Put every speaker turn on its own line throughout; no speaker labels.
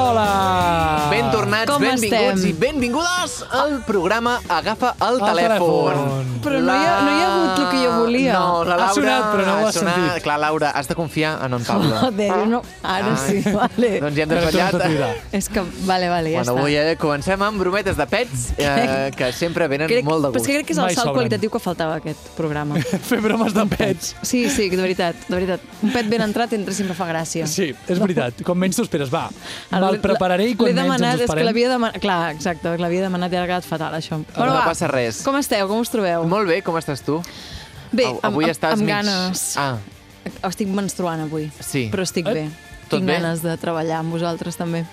Ah!
Ben tornats,
Com
benvinguts
estem?
i benvingudes al programa Agafa
El
el, telèfon.
telèfon.
Però no hi ha- no hi ha hagut el que jo volia.
No, la
Ha
Laura...
sonat, però no ho
ha
has
sonat.
sentit.
Clar, Laura, has de confiar en en Pablo.
Joder, jo no... Ara
Ah.
sí, vale.
doncs ja hem
Ara tornes a
desvetllat...
cridar.
És que, vale, vale, ja
bueno,
està.
avui eh, comencem amb brometes de pets, eh, que sempre venen
crec,
molt de
Però és
gust.
que crec que és el
Mai
salt
sobren.
qualitatiu que faltava a aquest programa.
Fer bromes de pets.
Sí, sí, de veritat, de veritat. Un pet ben entrat entre sempre fa gràcia.
Sí, és veritat. Com menys t'ho esperes, va.
Ara,
Me'l prepararé i quan
Ah, l'he
menys
demanat,
ens ho
És que
esperem.
l'havia demanat, clar, exacte, que l'havia demanat i ara ha quedat fatal, això.
no
Però va,
passa res.
Com esteu? Com us trobeu?
Molt bé, com estàs tu?
Bé,
Au-
amb-
avui
amb,
estàs
amb
mig...
ganes.
Ah,
Estic menstruant avui,
sí.
però estic
Eh?
bé.
Tot
Tinc
bé?
ganes de treballar amb vosaltres també.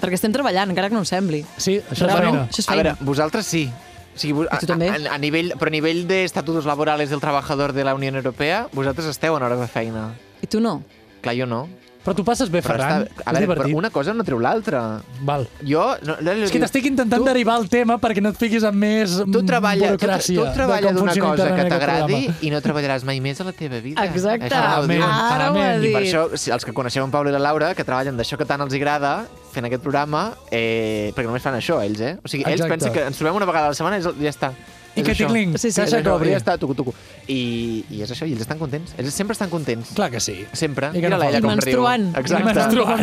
Perquè estem treballant, encara que no ho sembli.
Sí, això és
Però
feina.
Això és
A
feina.
veure, vosaltres sí. O sigui, vos-
I tu també?
A, a, a nivell, però a nivell d'estatutos laborals del treballador de la Unió Europea, vosaltres esteu en hores de feina.
I tu no?
Clar, jo no.
Però tu passes bé,
Però
Ferran.
a
és
veure,
divertit.
però una cosa no treu l'altra.
Val.
Jo... No, no,
És que t'estic intentant
tu-
derivar el tema perquè no et fiquis en més mm,
Tu treballa, tu,
burocràcia.
tu treballa
de com
d'una
funciona
cosa que
internament aquest
t'agradi
programa.
i no treballaràs mai més a la teva vida.
Exacte.
Això no ho
Amén.
diu.
Ara ho ha
Amén.
I per
dit.
això, si els que coneixeu en Pablo i la Laura, que treballen d'això que tant els agrada, fent aquest programa, eh, perquè només fan això, ells, eh? O sigui, ells
Exacte.
pensen que ens trobem una vegada a la setmana i és el- ja està.
I
És
que
això.
tingling,
Sí, sí,
És
caixa
això,
cobri.
Ja està, tucu, tucu. I, I és això, i ells estan contents. Ells sempre estan contents.
Clar que sí.
Sempre.
I que no
Mira-la, ella
I
com
menstruant.
riu.
I
Exacte.
menstruant.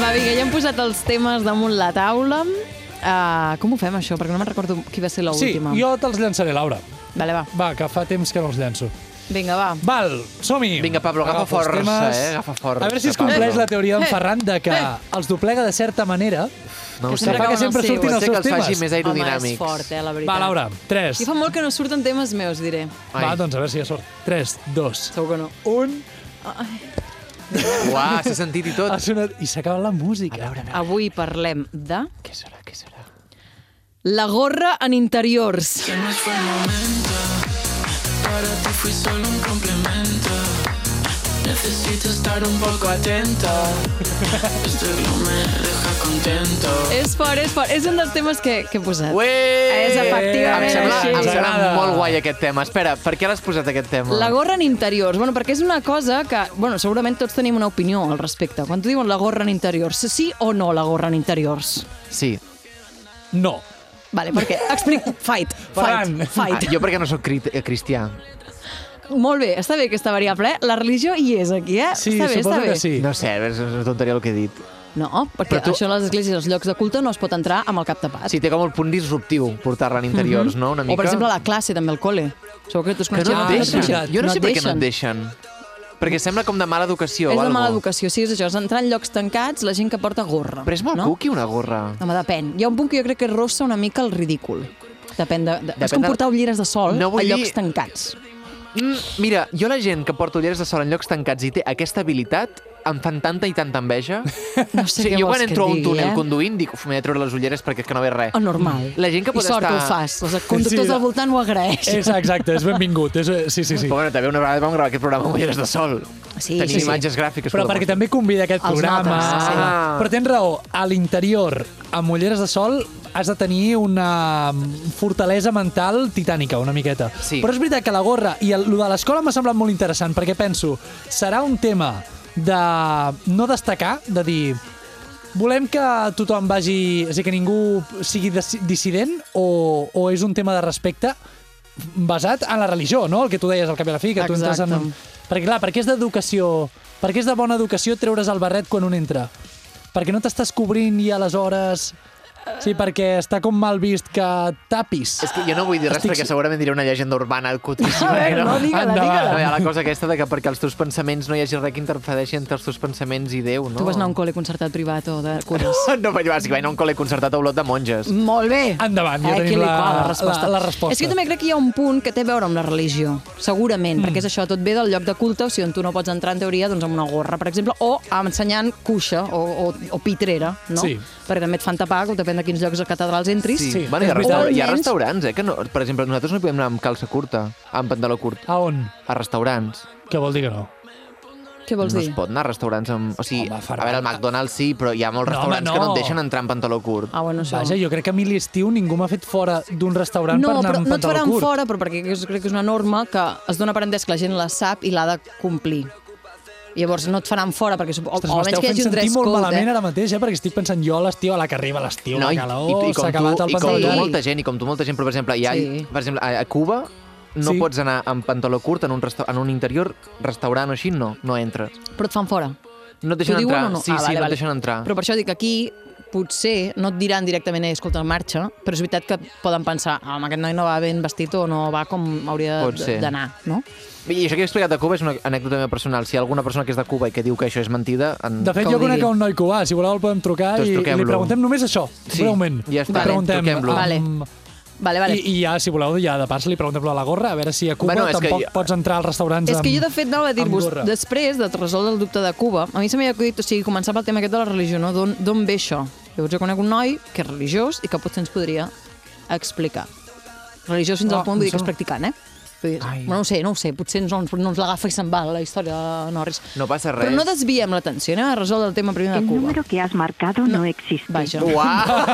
Va, vinga, ja hem posat els temes damunt la taula. Uh, com ho fem, això? Perquè no me'n recordo qui va ser
Sí,
l'última.
jo te'ls llançaré, Laura.
Vale, va.
Va, que fa temps que no els llanço.
Vinga, va.
Val, som-hi.
Vinga, Pablo, agafa
Agafo els
força,
temes.
eh? Agafa força,
A veure si es
Pablo.
compleix la teoria d'en
Eh,
Ferran de que
eh.
els doblega de certa manera.
No ho
Que
sé.
sempre
fa que
acaben
sempre
els
surtin
seus.
Pot
els
ser que
seus
els faci
temes.
Home, és
més aerodinàmics.
fort, eh, la veritat.
Va, Laura, 3.
I fa molt que no surten temes meus, diré.
Va, doncs a veure si hi ha sort. 3, 2,
Segur que no.
1...
Uah, s'ha sentit i tot.
Ha sonat... I s'acaba la música. A veure,
Avui parlem de...
Què serà, què serà?
La gorra en interiors.
Para ti fui solo un complemento. Necesito estar un poco atenta. Este glow me deja contento.
És fort, és fort. És un dels temes que, que he posat.
Ué!
És efectivament
em sembla,
així.
Em
Eh, Ens
sembla
agrada.
molt guai aquest tema. Espera, per què l'has posat aquest tema?
La gorra en interiors. Bueno, perquè és una cosa que... Bueno, segurament tots tenim una opinió al respecte. Quan tu diuen la gorra en interiors, sí o no la gorra en interiors?
Sí.
No.
Vale, per què? Explica. Fight. Fight.
Ferran.
Ah,
Fight.
jo perquè no sóc cri eh, cristià.
Molt bé, està bé aquesta variable, eh? La religió hi és aquí, eh?
Sí,
està bé,
suposo
està bé.
que sí.
No sé, és una tonteria el que he dit.
No, perquè
Però tu-
tu... això a les esglésies, als llocs de culte, no es pot entrar amb el cap tapat.
Sí, té com el punt disruptiu portar-la en interiors,
Mhm.
no? Una
O,
mica.
per exemple, a la classe, també, al col·le. Segur que tu es
Que no et
Ah,
deixen.
és veritat.
Jo no, sé per què no et deixen. Perquè sembla com de mala educació
És de
o alguna
mala educació, sí, és això, és entrar en llocs tancats, la gent que porta gorra.
Però és molt
no?
cuqui, una gorra.
Home, depèn. Hi ha un punt que jo crec que rossa una mica el ridícul. Depèn de... de...
Depèn
És com
de-
portar ulleres de sol
No
no
vull
a
dir-
llocs tancats.
Mm, mira, jo la gent que porta ulleres de sol en llocs tancats i té aquesta habilitat em fan tanta i tanta enveja.
No
O
sé
sigui,
què
jo
vols
quan entro a
que
un
et digui,
túnel
eh?
conduint dic, uf, m'he de treure les ulleres perquè és que no veig res.
Oh, normal.
Eh. Mm. La gent que pot
I sort
estar-
que ho fas. Els conductors
Sí,
del voltant ho agraeixen.
És exacte, és benvingut. És, eh, sí, sí, sí.
Però bueno, també una vegada vam gravar aquest programa amb ulleres de sol.
Sí,
Tenim
sí, sí.
imatges gràfiques.
Però perquè també convida aquest
Els
programa. Ah.
notes, sí.
Però tens raó, a l'interior, amb ulleres de sol, has de tenir una fortalesa mental titànica, una miqueta.
Sí.
Però és veritat que la gorra i el, lo de l'escola m'ha semblat molt interessant, perquè penso, serà un tema de no destacar, de dir... Volem que tothom vagi... És a dir, que ningú sigui dis- dissident o, o és un tema de respecte basat en la religió, no? El que tu deies al cap i a la fi, que tu entres
Exacte.
en... Perquè, clar, perquè és d'educació... Perquè és de bona educació treure's el barret quan un entra. Perquè no t'estàs cobrint i aleshores... Sí, perquè està com mal vist que tapis.
És que jo no vull dir res
Estic-
perquè segurament diré una llegenda urbana cutríssima.
A veure, no, digue-la,
Endavant.
digue-la.
No, hi ha la cosa aquesta de que perquè els teus pensaments no hi hagi res que interfereixi entre els teus pensaments i Déu, no?
Tu vas anar a un col·le concertat privat o de cures.
No, però jo vaig anar a un col·le concertat a Olot de monges.
Molt bé.
Endavant, ja
Ai,
tenim
que li
la-
qual, resposta.
la- la resposta.
És que jo també crec que hi ha un punt que té a veure amb la religió, segurament, perquè és això, tot ve del lloc de culte, o sigui, on tu no pots entrar, en teoria, doncs amb una gorra, per exemple, o ensenyant cuixa o, o, o pitrera, no?
Sí.
Perquè també et fan tapar, que depèn de quins llocs de catedrals entris.
Sí,
Mm, Sí,
bueno, hi, ha
és
restaura-
veritat.
hi ha
Almenys-
restaurants, eh? Que no, per exemple, nosaltres no podem anar amb calça curta, amb pantaló curt,
A on?
a restaurants.
Què vol dir que no?
Què vols
No
dir?
es pot anar a restaurants amb... O sigui,
Home, Ferran.
a veure, al McDonald's sí, però hi ha molts
No, home,
restaurants que no
no.
et deixen entrar amb pantaló curt.
Ah, bueno, això...
Vaja, jo crec que a mi l'estiu ningú m'ha fet fora d'un restaurant
No,
per anar
però
amb
no et
pantaló
faran
curt.
fora, però perquè és- crec que és una norma que es dona per entès que la gent la sap i l'ha de complir. Llavors no et faran fora, perquè supo...
Ostres,
o almenys
m'esteu
que hi
fent
hagi un
sentir
dress
molt
code,
malament
eh?
ara mateix, eh? perquè estic pensant jo a l'estiu, a la que arriba l'estiu, la
i,
calor,
i, i
s'ha
com
acabat
tu,
el
i com tu
pantaló.
molta gent, i com tu molta gent, però per exemple, hi ha,
Sí.
per exemple, a, a Cuba no
Sí.
pots anar amb pantaló curt en un, resta en un interior, restaurant o així, no, no entres.
Però et fan fora.
No et
T'ho
deixen
diuen
entrar.
o no?
Sí,
Ah,
sí,
vale,
no
vale.
et deixen entrar.
Però per això dic que aquí potser no et diran directament eh, escolta, marxa, però és veritat que poden pensar ah, home, aquest noi no va ben vestit o no va com hauria
Pot
d-
ser.
d'anar, no?
I això que he explicat de Cuba és una anècdota meva personal. Si hi ha alguna persona que és de Cuba i que diu que això és mentida... En...
De fet,
Que ho
jo conec
digui.
un noi cubà, si voleu el podem trucar
Doncs
i, i li
truquem-lo.
preguntem només això,
Sí,
breument.
ja està.
Li preguntem,
Truquem-lo.
Vale. Eh. Vale, vale.
Mm. I, I ja, si voleu, ja de pas li preguntem lo de la gorra, a veure si a Cuba
Bueno,
bueno,
és que
tampoc
jo-
pots entrar als restaurants
És
amb,
que jo, de fet, anava a dir-vos,
amb gorra.
després de resoldre el dubte de Cuba, a mi se m'havia acudit, o sigui, començar pel tema aquest de la religió, no? D'on d'on ve això? Llavors jo conec un noi que és religiós i que potser ens podria explicar. Religiós fins
Ah,
al punt, vull
em
dir que és
sembla-
practicant, eh? Vull dir,
Ai.
bueno, no ho sé, no ho sé, potser no ens, no ens l'agafa i se'n va la història de Norris.
No passa res.
Però no desviem l'atenció, anem a resoldre el tema primer de
El
Cuba.
número que has marcado no, existe.
Vaja.
Uau!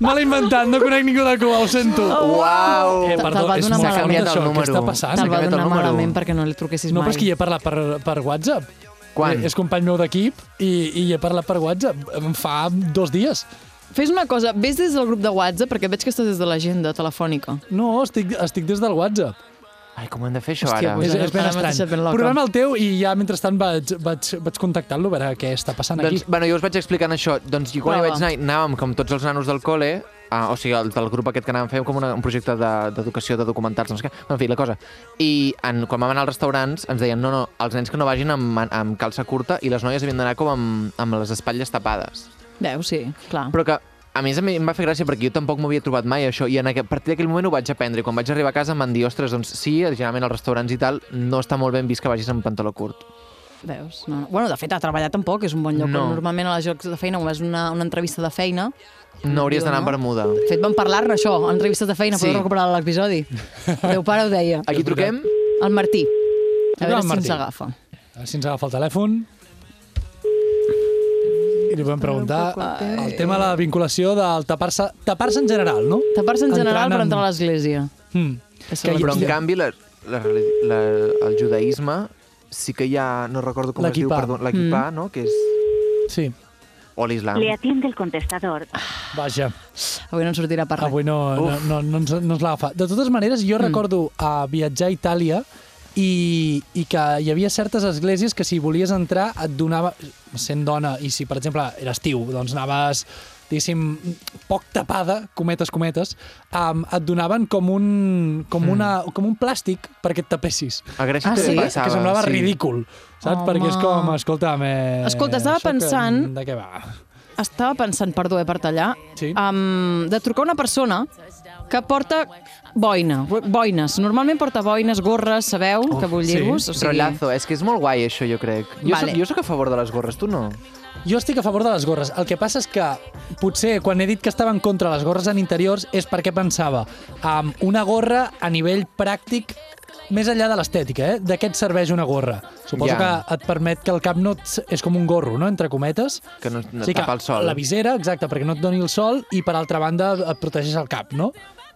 Me l'he inventat, no conec ningú de Cuba, ho sento.
Oh,
Uau!
Eh,
Te'l
perdó,
va
és
donar malament.
molt malament
S'ha canviat el
això, què
número.
està passant?
S'ha
Te'l va
canviat el
donar
número.
malament perquè no li truquessis
No,
mai.
però és que hi he parlat per, per WhatsApp. Eh,
Quan?
És company meu d'equip i, i he parlat per WhatsApp em fa dos dies.
Fes una cosa, vés des del grup de WhatsApp, perquè veig que estàs des de l'agenda telefònica.
No, estic, estic des del WhatsApp.
Ai, com ho hem de fer això
Hòstia,
ara?
pues-
És, és ben
Ara m'has
estrany.
deixat ben loca.
Provem el teu i ja mentrestant vaig, vaig, vaig contactar-lo a veure què està passant
Doncs,
aquí.
bueno, jo us vaig explicant això. Doncs jo quan hi
Prova.
vaig anar, anàvem com tots els nanos del col·le, ah, o sigui, el, del grup aquest que anàvem, fèiem com una, un projecte de- d'educació de, de documentals, no sé què. Bueno, en fi, la cosa. I en, quan vam anar als restaurants ens deien, no, no, els nens que no vagin amb, man- amb calça curta i les noies havien d'anar com amb, amb les espatlles tapades.
Veus, sí, clar.
Però que a més, a mi em va fer gràcia perquè jo tampoc m'ho havia trobat mai, això, i en aqu... a partir d'aquell moment ho vaig aprendre. I quan vaig arribar a casa em van dir, ostres, doncs sí, generalment als restaurants i tal, no està molt ben vist que vagis amb pantaló curt.
Veus? No, no. Bueno, de fet, a treballar tampoc és un bon lloc.
No.
No. Normalment a les jocs de feina, quan vas a una, una entrevista de feina...
No hauries
diuen,
d'anar amb
no?
bermuda.
De fet, vam parlar-ne, això, a entrevistes de feina, sí.
Sí.
podeu recuperar l'episodi. El teu pare ho deia.
Aquí truquem?
El Martí. A
Truquem al
veure si
Martí.
ens agafa.
A veure si ens agafa el telèfon. I li podem preguntar el tema de la vinculació del tapar-se tapar en general, no?
Tapar-se en general
Entrant
per
en-
entrar a l'església.
Hmm.
Que se
Que
la-
hi-
Però en
Ja.
canvi, la, la, reli- la, el judaïsme sí que hi ha, no recordo com es diu,
L'equipà.
perdó, l'equipà, mm. no? Que és...
Sí,
O l'islam.
Le atiende el contestador.
vaja,
Avui no en sortirà per res.
avui no, no, no, no ens, no ens l'agafa. De totes maneres,
Mm.
jo recordo a viatjar a Itàlia i, i que hi havia certes esglésies que si volies entrar et donava, sent dona, i si per exemple era estiu, doncs anaves diguéssim, poc tapada, cometes, cometes, um, et donaven com un, com, una, com un plàstic perquè et tapessis.
Mm. A Grècia
Ah,
també
sí?
passava.
que semblava ridícul, saps?
Home.
Perquè és com, escolta'm... Eh,
Escolta, estava
això que-
pensant-
De què va?
Estava pensant, perdó, eh, per tallar,
Sí.
um, de trucar una persona que porta boina, boines. Normalment porta boines, gorres, sabeu que vull
sí.
dir-vos? O sigui,
Rolazo, és que és molt guai això, jo crec. Jo,
Vale.
soc, jo soc a favor de les gorres, tu no?
Jo estic a favor de les gorres. El que passa és que potser quan he dit que estava en contra de les gorres en interiors és perquè pensava amb una gorra a nivell pràctic més enllà de l'estètica, eh? De què et serveix una gorra? Suposo
Ja.
que et permet que el cap no et, és com un gorro, no?, entre cometes.
Que no, no
O sigui
tapa el sol.
La visera, exacte, perquè no et doni el sol i, per altra banda, et protegeix el cap, no?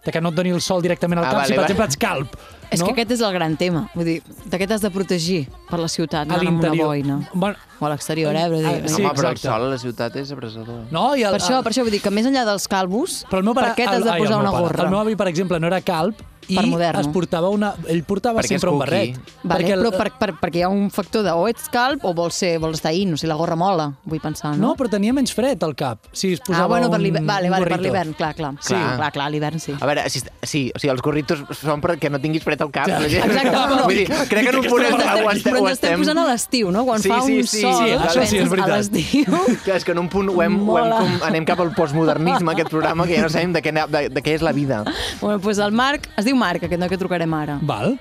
De que no et doni el sol directament al
Ah,
cap,
vale,
si, per
vale.
exemple, ets calp.
És
no?
que aquest és el gran tema. Vull dir, de què t'has de protegir per la ciutat,
a
no amb una
l'interior.
boina.
Bueno,
O a l'exterior, eh? Vull dir,
Ah, sí,
Home, però el
exacte.
sol a la ciutat és abrasador.
no, i el,
Per això, per això vull dir que més enllà dels calvos,
Però el meu pare,
per què t'has
el-
de
ai,
posar
el meu
una
pare.
gorra?
El meu avi, per exemple, no era calb i
Per moderno.
es portava una... Ell portava
Perquè és
sempre un
cookie.
barret.
Vale,
Perquè el-
però per, per, perquè hi ha un factor de o ets calb o vols, ser, vols estar in, o sigui, la gorra mola, vull pensar,
No,
no?
però tenia menys fred al cap. Si es posava
ah, bueno, per
un,
l'hivern, vale,
un
vale, per
gorrito.
l'hivern, clar, clar. Sí,
Clar.
clar, clar, a l'hivern sí.
A veure, si, sí, o sigui, els gorritos són perquè no tinguis fred al cap. Ja,
Exacte, no, no.
Vull dir, crec que en un punt
Però
ens,
ens estem,
ho estem,
però
ho
ens estem
estem...
posant a l'estiu, no? Quan
Sí,
fa un
sí, sí,
sol,
sí,
això sí, és
penses,
veritat.
a l'estiu...
Clar, és que en un punt ho hem, ho hem
Mola.
com, anem cap al postmodernisme, aquest programa, que ja no sabem de què, de, de què és la vida.
Bueno, doncs el Marc, es diu Marc, aquest noi que trucarem ara.
Val.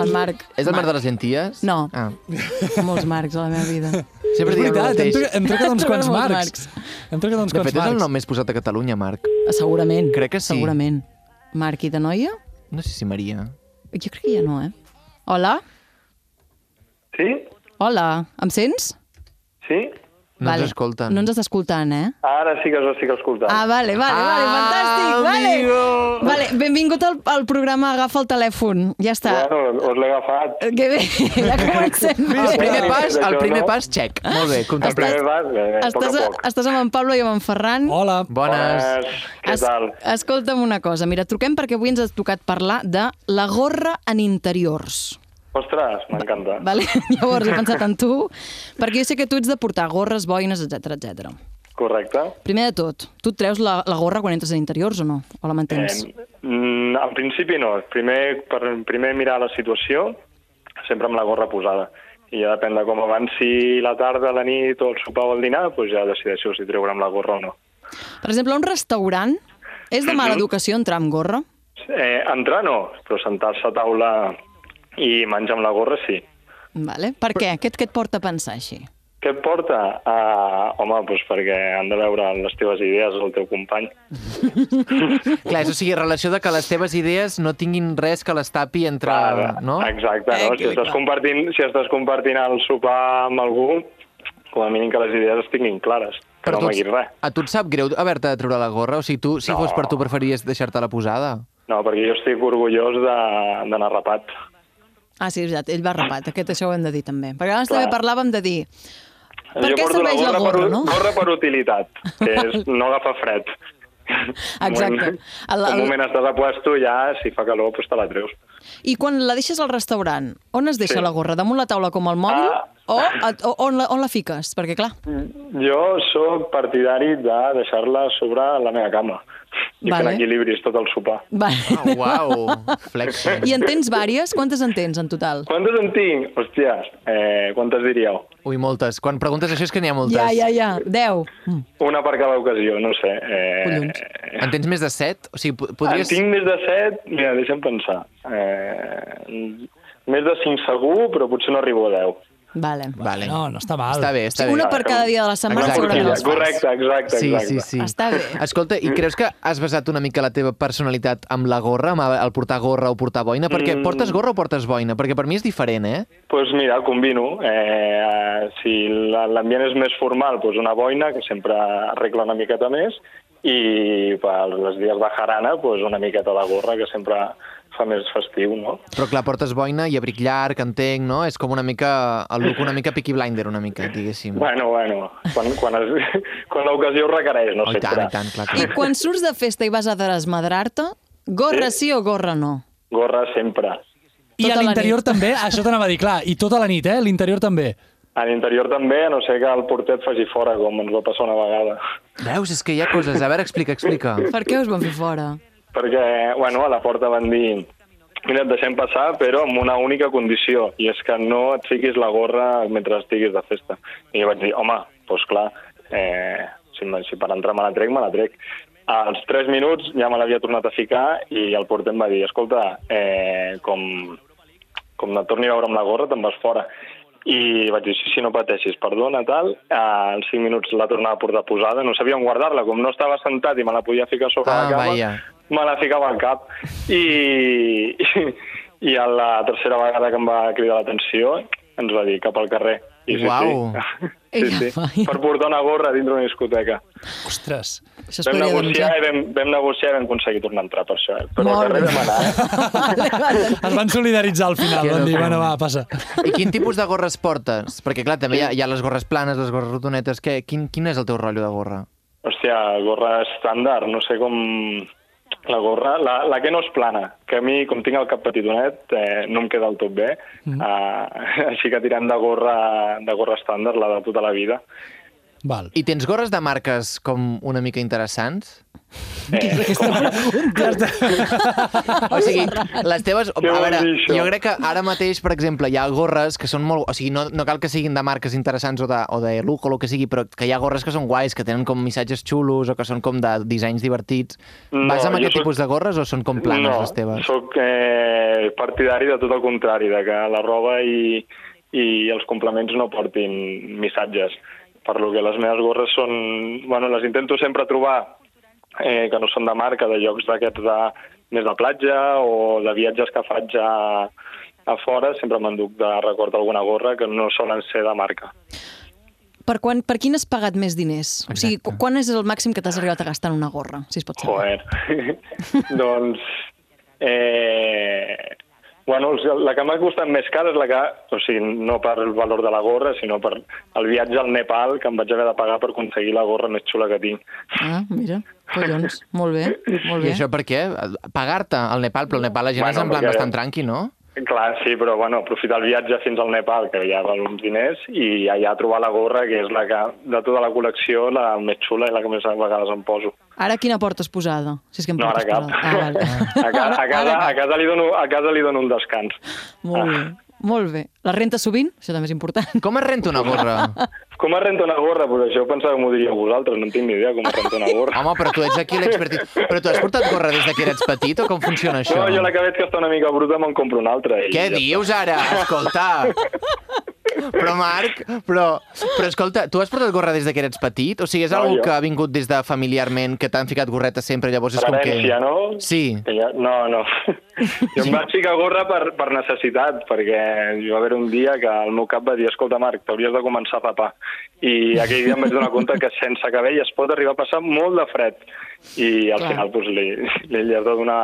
El Marc.
És el mar de les llenties?
No.
Ah.
Molts Marcs a la meva vida.
És
Sempre diem el
veritat, hem,
mateix.
trucat- hem trucat uns
Truquen
quants
molts
marcs. Hem trucat uns
De
quants
fet, és el
marcs.
nom més posat a Catalunya, Marc.
Segurament.
Crec que sí.
Segurament. Marc i de noia?
No sé si Maria.
Jo crec que ja no, eh? Hola?
Sí?
Hola, em sents?
Sí?
No ens escolten.
No ens està escoltant, eh?
Ara sí que us estic escoltant.
Ah, vale, vale, vale,
Ah,
fantàstic, vale.
amigo.
Vale, benvingut al, al programa Agafa el telèfon, ja està. Eh,
Bueno, us l'he agafat.
Que bé, ja comencem.
El primer
Sí,
pas, el
això,
primer
no?
pas, check. Molt bé,
El
contemplat.
primer pas, bé, bé, a poc
Estàs,
a poc.
estàs amb en Pablo i amb en Ferran.
Hola.
Bones.
Bones, què tal?
Escolta'm una cosa, mira, truquem perquè avui ens ha tocat parlar de la gorra en interiors.
Ostres, m'encanta.
Vale? Llavors he pensat en tu, perquè jo sé que tu ets de portar gorres, boines, etc etc.
Correcte.
Primer de tot, tu et treus la, la gorra quan entres en interiors o no? O la mantens?
Eh, mm, en principi no. Primer, per, primer mirar la situació, sempre amb la gorra posada. I ja depèn de com avanci la tarda, la nit o el sopar o el dinar, doncs ja decideixo si treure amb la gorra o no.
Per exemple, a un restaurant, és de mala educació entrar amb gorra?
Eh, entrar no, però sentar-se a taula i menjar amb la gorra sí.
Vale. Per què? Què, et- què et porta a pensar així?
Què et porta? Ah, home, doncs perquè han de veure les teves idees el teu company.
Clar, és, o sigui, relació de que les teves idees no tinguin res que les tapi entre... no?
Exacte, no?
Eh,
Si estàs,
clar.
compartint, si estàs compartint el sopar amb algú, com a mínim que les idees es tinguin clares, que
Però
no
tu,
amaguis res.
a tu et sap greu haver-te de treure la gorra? O sigui, tu, si
No.
fos per tu, preferies deixar-te la posada?
No, perquè jo estic orgullós de- d'anar rapat.
Ah, sí, és veritat, ell va rapat, aquest això ho hem de dir també. Perquè abans
Clar. Eh,
també parlàvem de dir... Per
jo
què
porto
serveix la gorra,
per,
no?
Gorra per utilitat, que és no agafar fred.
Exacte.
Un
El-
moment,
el-
un moment estàs a puesto, ja, si fa calor, doncs te la treus.
I quan la deixes al restaurant, on es deixa
Sí.
la gorra? Damunt la taula com el mòbil?
Ah.
O, et- o on, la, on la fiques? Perquè, clar,
Jo sóc partidari de deixar-la sobre la meva cama i
Vale.
que n'equilibris tot el sopar.
va.
Oh, uau, flexing.
I en tens vàries? Quantes en tens en total?
Quantes en tinc? Hòstia, eh, quantes diríeu?
Ui, moltes. Quan preguntes això és que n'hi ha moltes.
Ja, ja, ja. Deu. Mm.
Una per cada ocasió, no sé. Eh,
Collons.
En tens més de set? O sigui, po-
En
podries...
tinc més de set, mira, deixa'm pensar. Eh, més de cinc segur, però potser no arribo a deu.
Vale.
Vale.
No, no està mal.
Està bé, està bé.
Una per cada dia de la setmana,
Exacte.
segurament els fas.
Correcte, exacte,
Sí,
exacte.
sí, sí.
Està bé.
Escolta, i creus que has basat una mica la teva personalitat amb la gorra, amb el portar gorra o portar boina? Perquè
Mm.
portes gorra o portes boina? Perquè per mi és diferent, eh?
Doncs pues mira, combino. Eh, si la- l'ambient és més formal, doncs una boina, que sempre arregla una miqueta més, i per les dies de jarana, doncs una miqueta de gorra, que sempre fa més festiu, no?
Però clar, portes boina i abric llarg, entenc, no? És com una mica... El look una mica Peaky Blinder, una mica, diguéssim.
Bueno, bueno, quan, quan, es, quan l'ocasió ho requereix, no
Oh,
sé.
i tant, i tant, clar,
I
clar.
quan surts de festa i vas a desmadrar-te, gorra sí o gorra no?
Gorra sempre.
I
Tota
a
la
l'interior
nit.
també, això t'anava a dir, clar, i tota la nit, eh? L'interior també.
A l'interior també, a no sé que el porter et faci fora, com ens va passar una vegada.
Veus? És que hi ha coses... A veure, explica, explica.
Per què us van fer fora?
Perquè, bueno, a la porta van dir mira, et deixem passar, però amb una única condició, i és que no et fiquis la gorra mentre estiguis de festa. I jo vaig dir, home, doncs clar, eh, si, me- si per entrar me la trec, me la trec. Als 3 minuts ja me l'havia tornat a ficar i el porter em va dir, escolta, eh, com, com no et torni a veure amb la gorra, te'n vas fora. I vaig dir, sí, sí, no pateixis, perdona, tal. Eh, als 5 minuts la tornava a portar posada, no sabia on guardar-la, com no estava sentat i me la podia ficar sobre
Ah,
la cama,
vaja.
me la ficava al cap. I, i a la tercera vegada que em va cridar l'atenció ens va dir cap al carrer. I sí,
Uau.
sí.
Ella,
sí, sí.
vaja.
Per portar una gorra dintre d'una discoteca.
Ostres.
Això es
Vam
podria
negociar,
denunciar.
i vam, vam negociar i vam aconseguir tornar a entrar per això. eh? Però
Molt
al carrer
bé.
vam anar. eh?
Vale, vale.
Es van solidaritzar al final,
Que
van dir,
locura.
bueno, va, passa.
I quin tipus de gorres portes? Perquè, clar, també hi ha, hi ha les gorres planes, les gorres rotonetes... Què, quin, quin és el teu rotllo de gorra?
Hòstia, gorra estàndard, no sé com... La gorra, la, la que no és plana, que a mi, com tinc el cap petitonet, eh, no em queda del tot bé, mm. uh, així que tirant de gorra, de gorra estàndard, la de tota la vida.
Val.
I tens gorres de marques com una mica interessants?
Què és aquesta pregunta?
O sigui, les teves... A
Què vol
veure,
dir això?
jo crec que ara mateix, per exemple, hi ha gorres que són molt... O sigui, no, no cal que siguin de marques interessants o de, o de look o el que sigui, però que hi ha gorres que són guais, que tenen com missatges xulos o que són com de dissenys divertits.
No,
Vas amb
jo
aquest
soc-
tipus de gorres o són com planes
no,
les teves?
soc eh, partidari de tot el contrari, de que la roba i, i els complements no portin missatges. Per lo que les meves gorres són... Bueno, les intento sempre trobar eh, que no són de marca, de llocs d'aquests de, més de platja o de viatges que faig a, a fora, sempre m'enduc de record alguna gorra que no solen ser de marca.
per, quan, per quin has pagat més diners? Exacte. O sigui,
Exacte.
qu- quan és el màxim que t'has arribat a gastar en una gorra, si es pot saber?
Joder. doncs... Eh... Bueno, els- la que m'ha costat més cara és la que, o sigui, no per el valor de la gorra, sinó per el viatge al Nepal que em vaig haver de pagar per aconseguir la gorra més xula que tinc.
Ah, mira, collons, molt bé, molt
I
bé.
això per què? Pagar-te al Nepal, però al Nepal la gent
Bueno,
és en plan
perquè-
bastant tranqui, no?
Clar, sí, però bueno, aprofitar el viatge fins al Nepal, que ja val uns diners, i allà trobar la gorra, que és la que, de tota la col·lecció, la més xula i la que més a vegades em poso.
Ara quina portes posada? Si és que em
No, ara
portes
cap.
posada. Ah,
Ah.
A, ca, a, casa, a, casa li dono, a casa li dono un descans.
Molt bé, molt bé. La renta sovint, això també és important.
Com es renta una gorra?
Com es renta una gorra? Pues això pensava que m'ho diríeu vosaltres, no en tinc ni idea com es renta una gorra.
Home, però tu ets aquí l'expertit. Però tu has portat gorra des de que eres petit o com funciona això?
No, jo la que veig que està una mica bruta me'n compro una altra. i
Què
ja
dius ara? Escolta! Però Marc, però, però escolta, tu has portat gorra des de que eres petit? O sigui, és
No,
algo
jo.
que ha vingut des de familiarment, que t'han ficat gorreta sempre, llavors és
Per
com que...
herència, no?
Sí.
Que Ja, no, no. Jo em vaig ficar gorra per, per necessitat, perquè hi va haver un dia que el meu cap va dir escolta, Marc, t'hauries de començar a papar. I aquell dia em vaig donar compte que sense cabell es pot arribar a passar molt de fred. I al
Clar.
final doncs, li, li, li has de donar